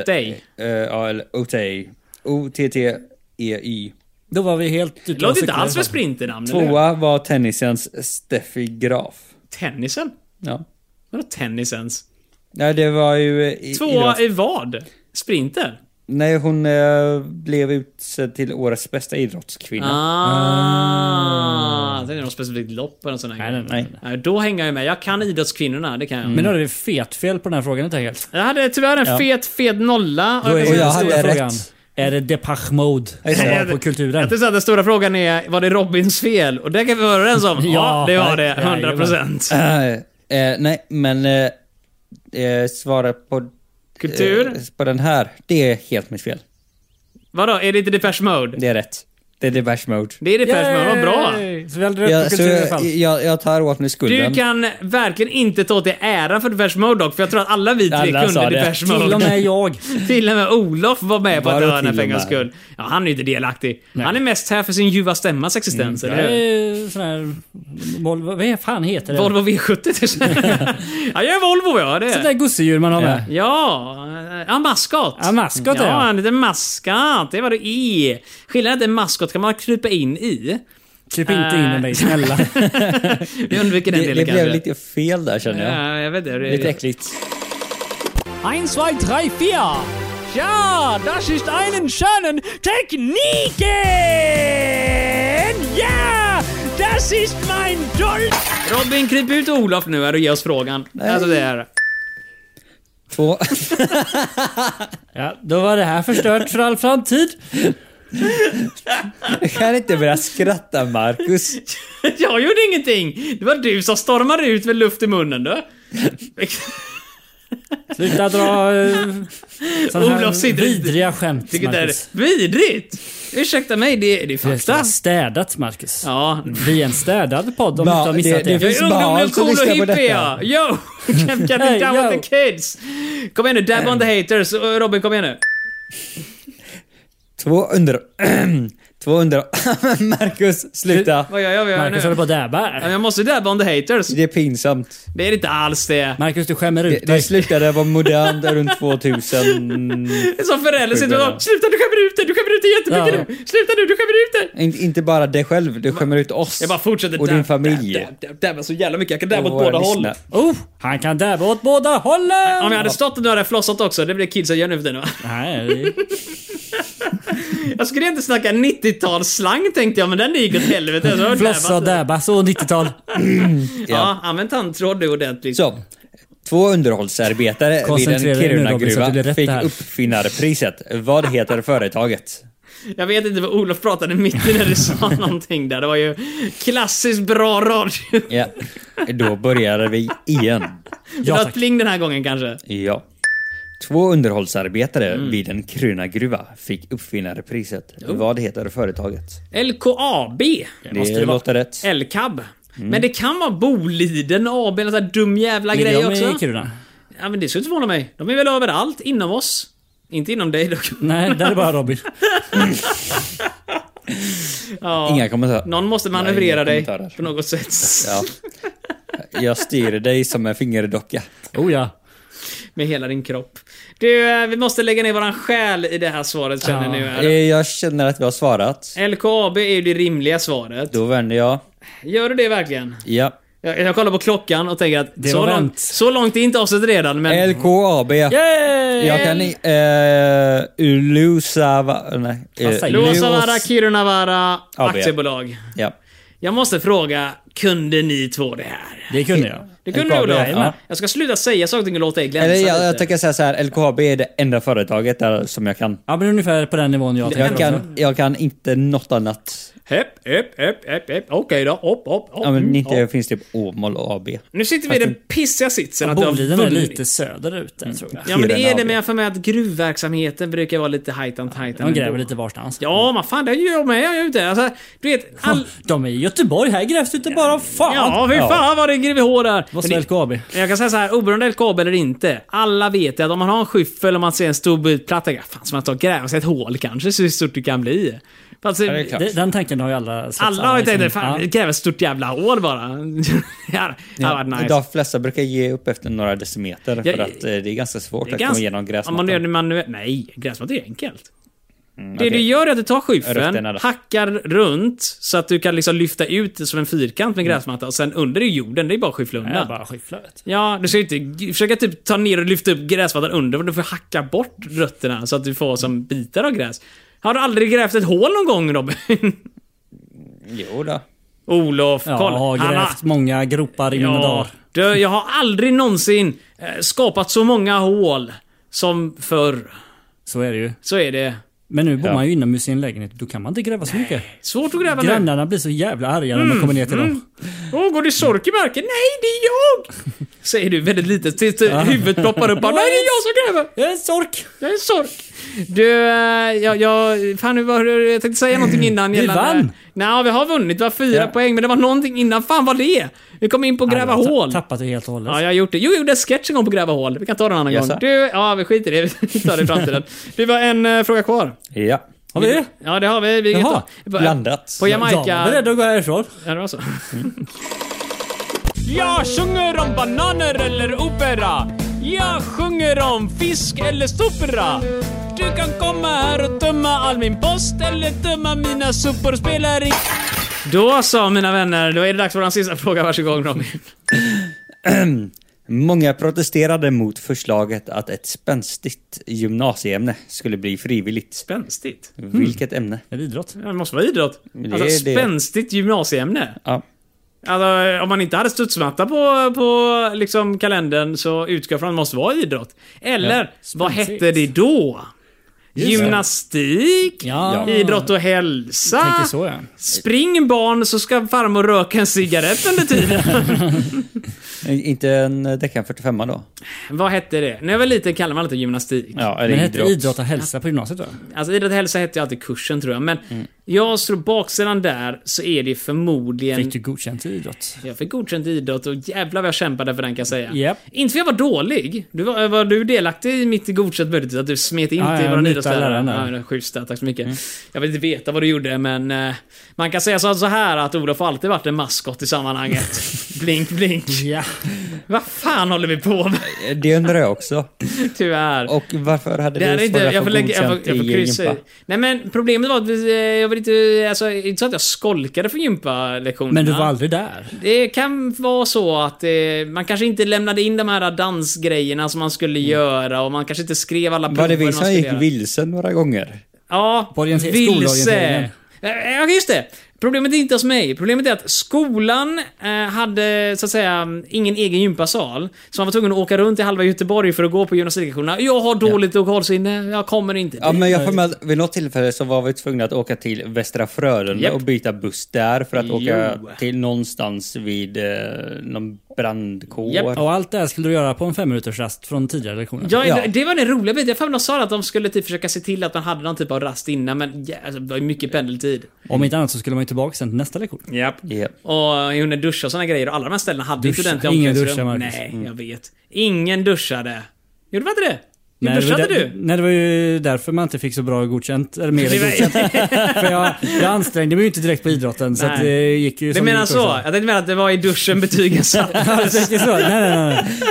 Otey. Eh, eh, Ja, eller Otey. O-T-T-E-Y. Då var vi helt ute Det och låter inte cyklade. alls för sprinternamn. eller hur? Tvåa var tennisens Steffi Graf. Tennisen? Ja. Vadå tennisens? Nej, det var ju... eh, i- Tvåa idrotts- i vad? Sprinter? Nej, hon eh, blev utsedd till årets bästa idrottskvinna. Ah, det är något specifikt lopp eller något sånt där. Nej, nej, Mm. nej. Nej, Då hänger jag med. Jag kan idrottskvinnorna, det kan jag. Men då hade vi fetfel på den här frågan helt enkelt. Jag hade tyvärr en Ja. fet, fet nolla. Och Då jag är kan Och den säga att jag stora den stora- hade frågan. rätt. Är det Depeche Mode? Nej, som det- var på kulturen? Jag tänkte säga att den stora frågan är, var det Robins fel? Och det kan vi vara överens om. ja, Ja, det var det. jajamän. 100%. Eh, eh, nej, men eh, eh, svara på... Kultur? Eh, på den här. Det är helt mitt fel. Vadå, är det inte Depeche Mode? Det är rätt. Det är Depeche Mode. Det är Depeche Mode, vad bra. Yay! Så vi hade rätt Ja, på så kultur i alla fall. jag, jag, jag tar åt mig skulden. Du kan verkligen inte ta åt dig äran för Depeche Mode dock, för jag tror att alla vi tre Alla kunde sa det. Depeche Mode. Till och med jag. Till och med Olof var med på Var att det dö den här till och pengarnas med? skull. Ja, han är ju inte delaktig. Han är mest här för sin ljuva stämmas existens, Mm. eller Det hur? är sån här... Volvo, vad fan heter det? Volvo V70 Ja, jag är Volvo jag, det är Sånt där gosedjur man har med. Ja, ja maskot. Ja, maskot, ja. ja. en liten maskot. Det var det i. Skillnaden är att en maskot kan man krypa in i. Kryp inte in i mig, snälla. Vi undviker den det delen det kanske. blev lite fel där känner jag. Ja, jag vet det. Lite äckligt. Eins, zwei, drei, vier. Ja, das ist einen schönen Techniken! Ja, das ist mein Dolch! Robin, kryp ut Olof nu här och ge oss frågan. Alltså det är... Två. Ja, då var det här förstört för all framtid. Jag kan inte börja skratta Marcus. Jag gjorde ingenting! Det var du som stormade ut med luft i munnen du. Sluta dra eh, sådana Olof här sitter- vidriga skämt, Tycker det är Marcus. vidrigt! Ursäkta mig, det, det är Det är fakta. städat, Marcus. Ja. Vi är en städad podd om Ja, du inte har missat det. det- det Jag finns är ungdomlig, barn cool som och lyssnar på hippie detta. ja! Yo! Kan kan Hey, inte down yo. with the kids! Kom igen nu, dab on the haters. Ö, Robin, kom igen nu. Två under... Två under... Marcus, sluta. Vad gör jag? Vad gör jag Marcus nu? håller på att Ja, dabba. Jag måste dab on the haters. Det är pinsamt. Det är inte alls det. Marcus, du skämmer ut Det, det dig. slutade vara modernt runt 2000. Det är Som förälder sitter man och bara, Sjukt. “Sluta, du skämmer ut dig! Du skämmer ut dig jättemycket Ja. nu! Sluta nu, du skämmer ut dig!” In, inte bara dig själv, du skämmer ut oss. Jag bara fortsätter Och din dab, familj. dab, dab, dab, Dabba så jävla mycket. Jag kan dabba och åt båda våra håll. lyssnare. Oh, han kan dabba åt båda hållen! Om jag hade stått och nu hade jag flossat också. Det blir kidsen gör nu för tiden va? Nej, det- Jag skulle inte snacka 90-talsslang tänkte jag, men den gick åt helvete. Jag har flossa och dabbat. dabba. Så 90-tal. alltså. Ja, använd tandtråd du ordentligt. Så. Två underhållsarbetare vid en Koncentrera dig nu, Robin, så att det blir Kiruna-gruva rätt fick det här. uppfinnarpriset. Vad heter företaget? Jag vet inte vad Olof pratade mitt i när du sa någonting där. Det var ju klassiskt bra radio. Ja, då börjar vi igen. Ja, tack. tack. pling den här gången kanske. Ja. Två underhållsarbetare Mm. vid en Kiruna-gruva fick uppfinnarpriset. Oh. Vad heter företaget? LKAB. Det, låter rätt. LKAB. Mm. Men det kan vara Boliden AB, eller sån här dum jävla Ligger grej de i också. Kiruna? Ja men det skulle inte förvåna mig. De är väl överallt inom oss. Inte inom dig dock. Nej, där är bara Robin. Ja. Inga kommentarer. Någon måste Nej, manövrera inga dig kommentarer. på något sätt. Ja. Jag styr dig som en fingerdocka. Oh ja. Med hela din kropp. Du, eh, vi måste lägga ner våran själ i det här svaret känner ni nu. Eh, här. Jag känner att vi har svarat. LKAB är ju det rimliga svaret. Då vänder jag. Gör du det verkligen? Ja. Jag, jag kollar på klockan och tänker att Det så, var långt, vänt. så långt är inte avsnittet redan, men... LKAB. Yay! Jag kan... Uh, Ulusava... Nej. eh, Vad säger du? Luossavaara Luos- Kirunavaara AB. Aktiebolag. Ja. Jag måste fråga, kunde ni två det här? Det kunde jag. Det kunde du LKAB, Olof. ja. Jag ska sluta säga saker och ting och låta dig glänsa Eller jag, jag lite. tänker säga så här, LKAB är det enda företaget där som jag kan. Ja, men ungefär på den nivån jag Jag tänker också. kan, jag kan inte något annat. Hepp, hepp, hepp, hepp, hepp. Okej då. Hopp, hopp, hopp. Ja, men Mm, inte hopp. finns typ Åmål och AB. Nu sitter vi i den pissiga sitsen att du har Boliden är vunnit. lite söderut där, tror jag. Ja men det är Kiruna det, AB. men jag får med att gruvverksamheten brukar vara lite hajtan tajtan. De gräver ändå. lite varstans. Ja, men fan det gör jag med. Jag är ute. Alltså, du vet, all... De är i Göteborg. Här grävs det inte bara fan. Ja, fy fan vad det grev i hår där. Vad Men sa det- LKAB? Men Jag kan säga så här, oberoende LKAB eller inte. Alla vet ju att om man har en skyffel och man ser en stor bit platta, ja, fan ska man ta och gräva sig ett hål kanske, så hur stort det kan bli. Fast, eh, det är klart. Det- Den tanken har ju alla släppt. alla har ju tänkt liksom. fan Ja. gräva ett stort jävla hål bara. det hade ja, varit nice. De flesta brukar ge upp efter några decimeter Ja, för att eh, det är ganska svårt Det är att komma ganska- igenom Om man gräsmattan. gör det manuellt. Nej, gräsmatta är enkelt. Det du gör är att du tar skyffeln, Mm, Rötterna då. hackar runt så att du kan liksom lyfta ut som en fyrkant med gräsmatta och sen under är jorden. Det är bara att skyffla Jag undan. bara skyfflar vet du. Ja, du ska ju inte försöka typ ta ner och lyfta upp gräsmattan under, men du får hacka bort rötterna så att du får som bitar av gräs. Har du aldrig grävt ett hål någon gång Robin? Jo då. Olof, Ja, kolla. har Han har- grävt många gropar i mina dagar. du, jag har aldrig någonsin eh, skapat så många hål som förr. Så är det ju. Så är det. Men nu bor Ja. man ju inomhus i en lägenhet. Då kan man inte gräva så mycket. Svårt att gräva nu. Grannarna blir så jävla arga Mm. när man kommer ner till dem. Åh, går det sork i marken? Nej, det är jag! Säger du väldigt litet tills eh, huvudet ploppar upp. Bara, Nej, det är jag som gräver! Jag är en sork! Jag är sork. Du, eh, jag, jag, fan, nu var, det- jag tänkte säga någonting innan Mm. Vi vann. Nej, vi har vunnit. Vi har fyra Ja. poäng, men det var någonting innan. Fan var det? Vi kom in på gräva Jag har ta- hål. Tappat det helt och hållet. Ja, jag har gjort det. Jo, jag gjorde en sketch en gång på Gräva hål. Vi kan ta den en annan Jaså? gång. Du, ja, vi skiter i det. Vi tar det i framtiden. Du, var en eh, fråga kvar. Ja. Har vi det? Ja, det har vi. vi Jaha, på, blandat. På Jamaica. Jag var beredd att gå härifrån. Ja, det var så. Jag sjunger om bananer eller opera. Jag sjunger om fisk eller sopra. Du kan komma här och tömma all min post eller tömma mina sopor. Spelar i... Då så, mina vänner. Då är det dags för vår sista fråga. Varsågod, Robin. Många protesterade mot förslaget att ett spänstigt gymnasieämne skulle bli frivilligt. Spänstigt. Vilket ämne? Är det idrott? Ja, Det måste vara idrott. Det Alltså, är det. spänstigt gymnasieämne. Ja. Alltså, om man inte hade studsmatta på, på liksom, kalendern så utgår jag från att det måste vara idrott. Eller, vad Spänstigt. hette det då? Gymnastik, Ja. idrott och hälsa. Tänker så ja. Spring barn så ska farmor röka en cigarett under tiden. Inte en Deccan 45 då? Vad hette det? När jag var liten kallade man alltid gymnastik. Ja, Men eller det hette idrott. idrott och hälsa på gymnasiet va? Alltså idrott och hälsa hette ju alltid kursen tror jag. Men Mm. jag slår baksidan där så är det förmodligen... Fick du godkänt i idrott? Jag fick godkänt i idrott och jävlar vad jag kämpade för den kan jag säga. Japp. Inte för jag var dålig. Du var, var du delaktig i mitt godkänt möjligtvis? Att du smet in Ja, till jag våran nitade idrottslärare? läraren där. Mm. Ja, det var schysst där, tack så mycket. Jag vill inte veta vad du gjorde men eh, man kan säga så så här att Olof har alltid varit en maskot i sammanhanget. blink blink. Ja. Vad fan håller vi på med? Det undrar jag också. Tyvärr. Och varför hade Det här är du inte, svårare jag får att få lägga, jag får, godkänt jag får i kryssa i. gympa? Nej men problemet var att vi, eh, jag vill inte, alltså inte så att jag skolkade från gympalektionerna. Men du var aldrig där? Det kan vara så att eh, man kanske inte lämnade in de här dansgrejerna som man skulle göra och man kanske inte skrev alla Var Mm. prover det vi man som skulle gick göra. vilse några gånger? Ja, På orienter- vilse. skolorienteringen. Eh, Ja, just det. Problemet är inte hos mig. Problemet är att skolan eh, hade, så att säga, ingen egen gympasal. Så man var tvungen att åka runt i halva Göteborg för att gå på gymnastiklektionerna. Jag har dåligt lokalsinne, jag kommer inte Ja, dit. men jag får med att vid något tillfälle så var vi tvungna att åka till Västra Frölunda Japp. och byta buss där för att åka Jo. till någonstans vid eh, någon brandkår. Japp. Och allt det här skulle du göra på en femminuters rast från tidigare lektioner? Ja, Ja. det- Det var den roliga biten. Jag för mig de sa att de skulle typ försöka se till att man hade någon typ av rast innan, men ja, alltså, det var ju mycket pendeltid. Om inte annat så skulle man ju tillbaka sen till nästa lektion. Japp. Japp. Och under duscha och såna grejer. Och alla de här ställena hade Duscha. inte ordentliga Ingen omklädningsrum. duschar, Marcus. Mm. Nej, jag vet. Ingen duschade. Gjorde man inte det? Du det var duschade där- du? Nej, det var ju därför man inte fick så bra godkänt. Eller mer än godkänt. För jag, jag ansträngde mig ju inte direkt på idrotten så Nej. att det gick ju Du som menar gick så? också. Jag tänkte mena att det var i duschen betygen Ja, jag sattes. tänker så. Nej, nej, nej, nej.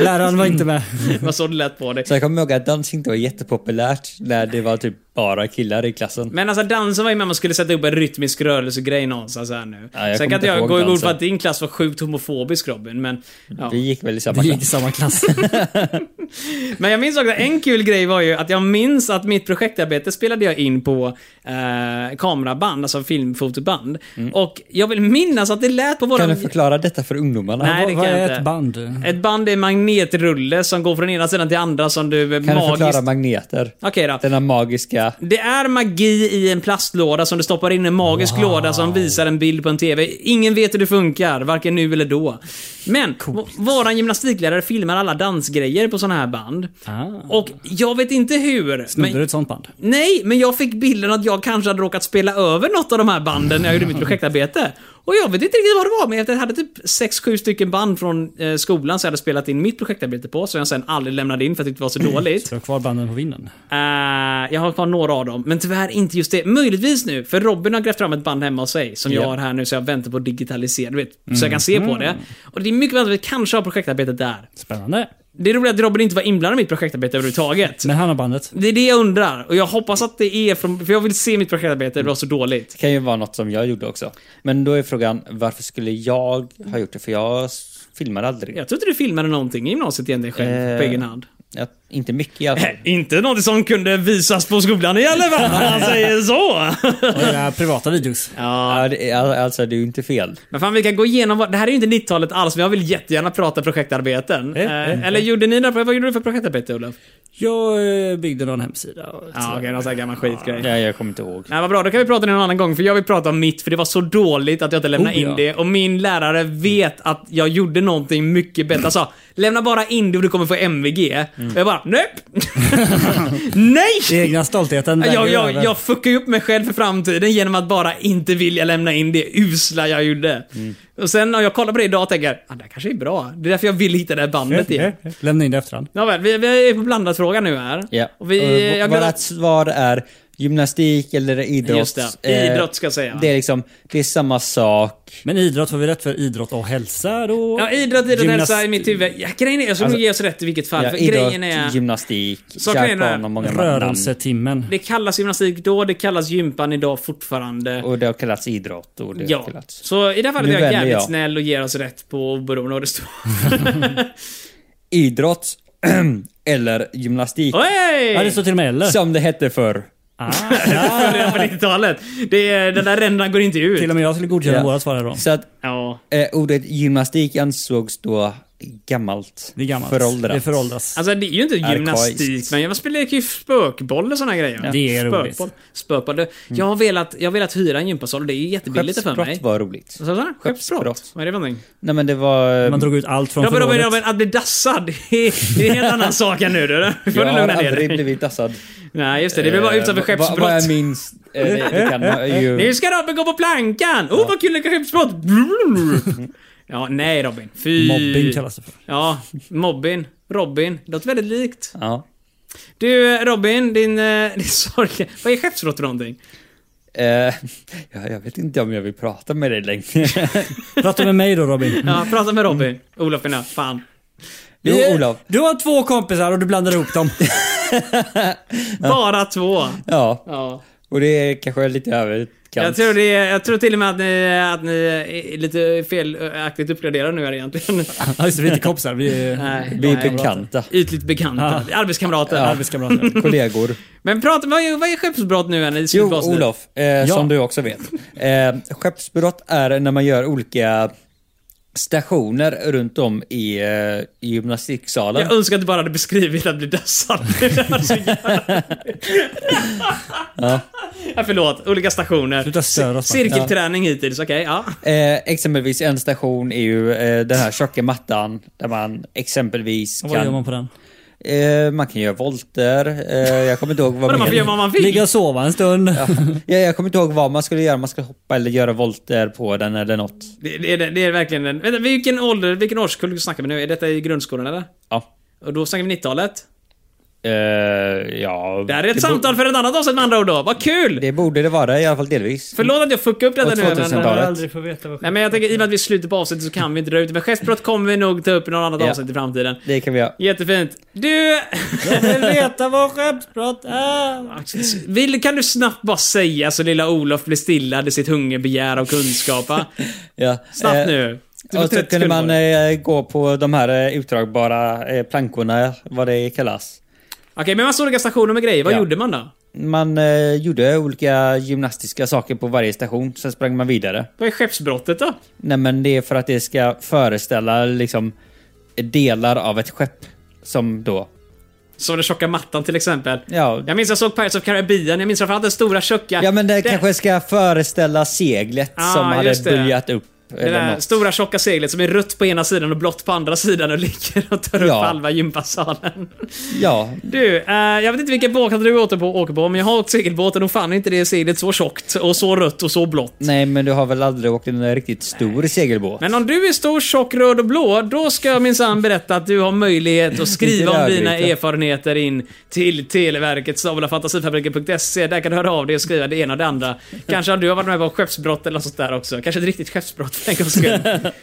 Läraren var inte med. Det var så det lät på dig. Så jag kommer ihåg att dans inte var jättepopulärt när det var typ bara killar i klassen. Men alltså dansen var ju med man skulle sätta upp en rytmisk rörelsegrej någonstans här nu. Ja, Sen jag kommer kan inte inte jag ihåg gå i god för dansen. att din klass var sjukt homofobisk Robin, men... Ja. Vi gick väl i samma Vi gick i klass. samma klass. Men jag minns också, en kul grej var ju att jag minns att mitt projektarbete spelade jag in på eh, kameraband, alltså filmfotoband. Mm. Och jag vill minnas att det lät på våra... Kan du förklara detta för ungdomarna? Nej, det Vad kan jag är inte. ett band? Ett band är en magnetrulle som går från ena sidan till andra som du eh, Kan du magiskt... förklara magneter? Okej då. Denna magiska... Det är magi i en plastlåda som du stoppar in i en magisk låda som visar en bild på en TV. Ingen vet hur det funkar, varken nu eller då. Men, v- våran gymnastiklärare filmar alla dansgrejer på såna här band. Ah, Och jag vet inte hur. snodde men- du ett sånt band? Nej, men jag fick bilden att jag kanske hade råkat spela över något av de här banden när jag gjorde mitt projektarbete. Och jag vet inte riktigt vad det var, men jag hade typ 6-7 stycken band från eh, skolan som jag hade spelat in mitt projektarbete på, som jag sen aldrig lämnade in för att det inte var så dåligt. Så jag har kvar banden på vinden. Eh, jag har kvar några av dem, men tyvärr inte just det. Möjligtvis nu, för Robin har grävt fram ett band hemma hos sig som jag Ja. har här nu, så jag väntar på att digitalisera, du vet, så jag kan se på det. Och det är mycket möjligt att vi kanske har projektarbetet där. Spännande. Det är roligt att Robin inte var inblandad i mitt projektarbete överhuvudtaget. Men han har bandet. Det är det jag undrar. Och jag hoppas att det är från... För jag vill se mitt projektarbete vara så dåligt. Det kan ju vara något som jag gjorde också. Men då är frågan, varför skulle jag ha gjort det? För jag s- filmar aldrig. Jag tror inte du filmade någonting i gymnasiet egentligen själv, Eh. på egen hand. Eh, Jag, inte mycket i alla fall. Inte något som kunde visas på skolan i alla fall, han säger så. Och era privata videos. ja. Ja, det, är- alltså, det är ju inte fel. Men fan, vi kan gå igenom vad... Det här är ju inte 90-talet alls, men jag vill jättegärna prata projektarbeten. Eh, Eh, eh. Eller gjorde ni det? Vad gjorde du för projektarbete, Olof? Jag eh, byggde någon hemsida. och- Ja, okej, någon sån här gammal skitgrej. Nej, jag kommer inte ihåg. Nej, vad bra. Då kan vi prata någon annan gång, för jag vill prata om mitt, för det var så dåligt att jag inte lämnade Oh, in ja. det. Och min lärare vet att jag gjorde någonting mycket bättre. Han sa, lämna bara in det och du kommer få MVG. Och jag bara, nej! nej! Egna stoltheten. väger Jag, jag, över. jag fuckade ju upp mig själv för framtiden genom att bara inte vilja lämna in det usla jag gjorde. Och sen när jag kollar på det idag och tänker, ah, det här kanske är bra. Det är därför jag vill hitta det här bandet igen. Eh, Lämna in det efterhand. Nåväl, vi, vi är på blandad fråga nu här. Ja. Och vi, Och jag vårat glömde- svar är gymnastik eller idrott. Just det. Eh, Idrott ska jag säga. Det är liksom, det är samma sak. Men idrott, får vi rätt för idrott och hälsa då? Ja, idrott, idrott, Gymnast- hälsa i mitt huvud. Ja, grejen är, jag skulle nog ge oss rätt i vilket fall. Ja, för idrott, grejen är... gymnastik, Så grejen är- kärkbarn och många namn. Rörelsetimmen. Det kallas gymnastik då, det kallas gympan idag fortfarande. Och det har kallats idrott. Och det har ja. kallats. Så i det här fallet Nu är jag väljer jävligt jag. snäll och ger oss rätt på oberoende vad det står. Idrott eller gymnastik. Oj! Ja, det står till och med eller. Som det hette förr. Ah, Följde jag på 90-talet. Det är, den där rändan går inte ut. till och med jag skulle godkänna Ja. våra svar här då. Så att Ja. eh, ordet gymnastik ansågs då gammalt. Det är gammalt. Föråldrat. Det föråldras. Alltså det är ju inte Arkaiskt. gymnastik, men jag spelar ju spökboll och såna grejer. Det är roligt. Spökboll. Spökboll. Det- Jag, har velat, jag har velat hyra en gympasal och det är ju jättebilligt för mig. Skeppsbrott var roligt. Vad sa du? Skeppsbrott? Skeppsbrott. Vad är det för någonting? Nej men det var... Man drog ut allt från Robin, Robin, förrådet. Robin, att bli dassad, det är det är en helt annan sak än nu. Du Du får jag du har lugna ner aldrig dig. blivit dassad. Nej, just det. Det blir bara utsatt för Eh, Vad, vad skeppsbrott. jag minns, eh, det, det kan man ju... Nu ska Robin gå på plankan! Oh, vad kul det är skeppsbrott! Ja, nej Robin. Fy. Mobbing kallas det för. Ja, mobbin. Robin. Det låter väldigt likt. Ja. Du eh, Robin, din, eh, din sorg. Vad är skeppsbrott för någonting? Eh, ja, jag vet inte om jag vill prata med dig längre. Prata med mig då Robin. Ja, prata med Robin. Olof menar jag. Fan. Jo, Vi är- Olof. Du har två kompisar och du blandar ihop dem. Bara två. Ja, Ja. och det är kanske lite Jag överkant. tror, det, är- jag tror till och med att ni, att ni är lite felaktigt uppgraderade nu här egentligen. Ja, just det, vi är inte kompisar. Vi är Nej, Vi nej. är bekanta. Ytligt bekanta. Arbetskamrater. arbetskamrater. Kollegor. Men prata, vad är, vad är skeppsbrott nu Annie? Jo, Olof, eh, som Ja. du också vet. Eh, skeppsbrott är när man gör olika stationer runt om i eh, i gymnastiksalen. Jag önskar att du bara hade beskrivit att bli dödsad. Det var så jävla- ja, förlåt, olika stationer. Sluta störa oss, man. Cirkelträning hittills, okej. ja. Eh, exempelvis en station är ju eh, den här tjocka mattan där man exempelvis Vad gör kan... man Man? på den? Eh, man kan göra volter. Eh, jag kommer inte ihåg vad Vadå, man får göra vad man vill? Ligga och sova en stund. Ja, jag kommer inte ihåg vad man skulle göra. Man skulle hoppa eller göra volter på den eller något. Det, det, är, det är verkligen en... Vänta, vilken ålder, vilken årskull snackar vi nu? Är detta i grundskolan eller? Ja. Och då snackar vi 90-talet. Eh, ja. Det här är ett bo- samtal för ett annat avsnitt med andra ord då. Vad kul! Det borde det vara i alla fall delvis. Förlåt att jag fuckade upp detta Och nu. men- 2000-talet. får veta vad Nej men jag tänker i och med att vi är slutet på avsnittet så kan vi inte dra ut det. Men gestbrott kommer vi nog ta upp i något annat Ja. avsnitt i framtiden. Det kan vi göra. Jättefint. Du... Jag vill veta vad Ah. skeppsbrott är. Vill, kan du snabbt bara säga så lilla Olof blir stillad i sitt hungerbegär av kunskap? va? Ja. Snabbt Eh, nu. Du får Och 30 så kunde sekunder man på dig. eh, gå på de här eh, utdragbara eh, plankorna, vad det kallas. Okej, men massa olika stationer med grejer. Vad Ja. gjorde man då? Man eh, gjorde olika gymnastiska saker på varje station, sen sprang man vidare. Vad är skeppsbrottet då? Nej men det är för att det ska föreställa liksom delar av ett skepp. Som då... Som den tjocka mattan till exempel. Ja, Jag minns jag såg Pirates of Caribbean, jag minns framförallt den stora tjocka... ja men det, kanske ska föreställa seglet Ah, som hade just det. böljat upp. Det Eller där något. stora tjocka seglet som är rött på ena sidan och blått på andra sidan och ligger och tar upp Ja. halva gympasalen. Ja, Du, eh, jag vet inte vilken båt du åker på, åker på, men jag har åkt segelbåt och nog fan är inte det seglet så tjockt och så rött och så blått. nej men du har väl aldrig åkt en riktigt stor segelbåt? Men om du är stor, tjock, röd och blå, då ska jag minsann berätta att du har möjlighet att skriva Inte om rödvita. dina erfarenheter in till Televerket snabelafantasifabriken.se. Där kan du höra av dig och skriva det ena och det andra. Kanske har du har varit med på skeppsbrott eller något sånt där också. Kanske ett riktigt skeppsbrott. Tänk oss själv. Eh,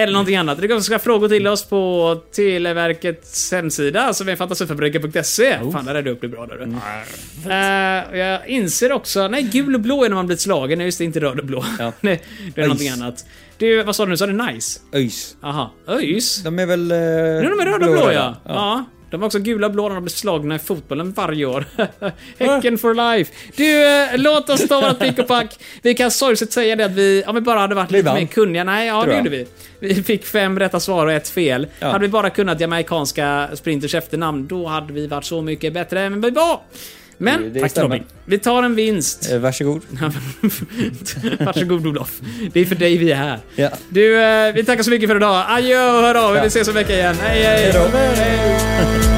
eller någonting annat. Du kan ställa frågor till oss på Televerkets hemsida alltså som är fantasifabriken.se. E. Fan, där är du upp det bra där du. Eh, jag inser också... Nej, gul och blå är när man blir slagen. Nej, just det, inte röd och blå. Ja. nej, det är någonting Öjs. annat. Du, vad sa du nu? Sa du nice? Öjs. Aha. Öjs? De är väl... Eh, Nu är de röda och blå ja. ja. De var också gula och blå när de blev slagna i fotbollen varje år. Häcken for life. Du, eh, låt oss ta vårt pick och pack. Vi kan sorgset säga det att vi, om vi bara hade varit Vi lite vann. mer kunniga. Nej, ja Tror det jag. gjorde vi. Vi fick fem rätta svar och ett fel. Ja. Hade vi bara kunnat jamaicanska sprinters efternamn, då hade vi varit så mycket bättre än vi var. Men, Det Tack stämmer. Robin. vi tar en vinst. Eh, varsågod. Varsågod Olof. Det är för dig vi är här. Ja. Du, eh, vi tackar så mycket för idag. Adjö och hör av er. Vi ses om en vecka igen. Hej, hej. hej, hej.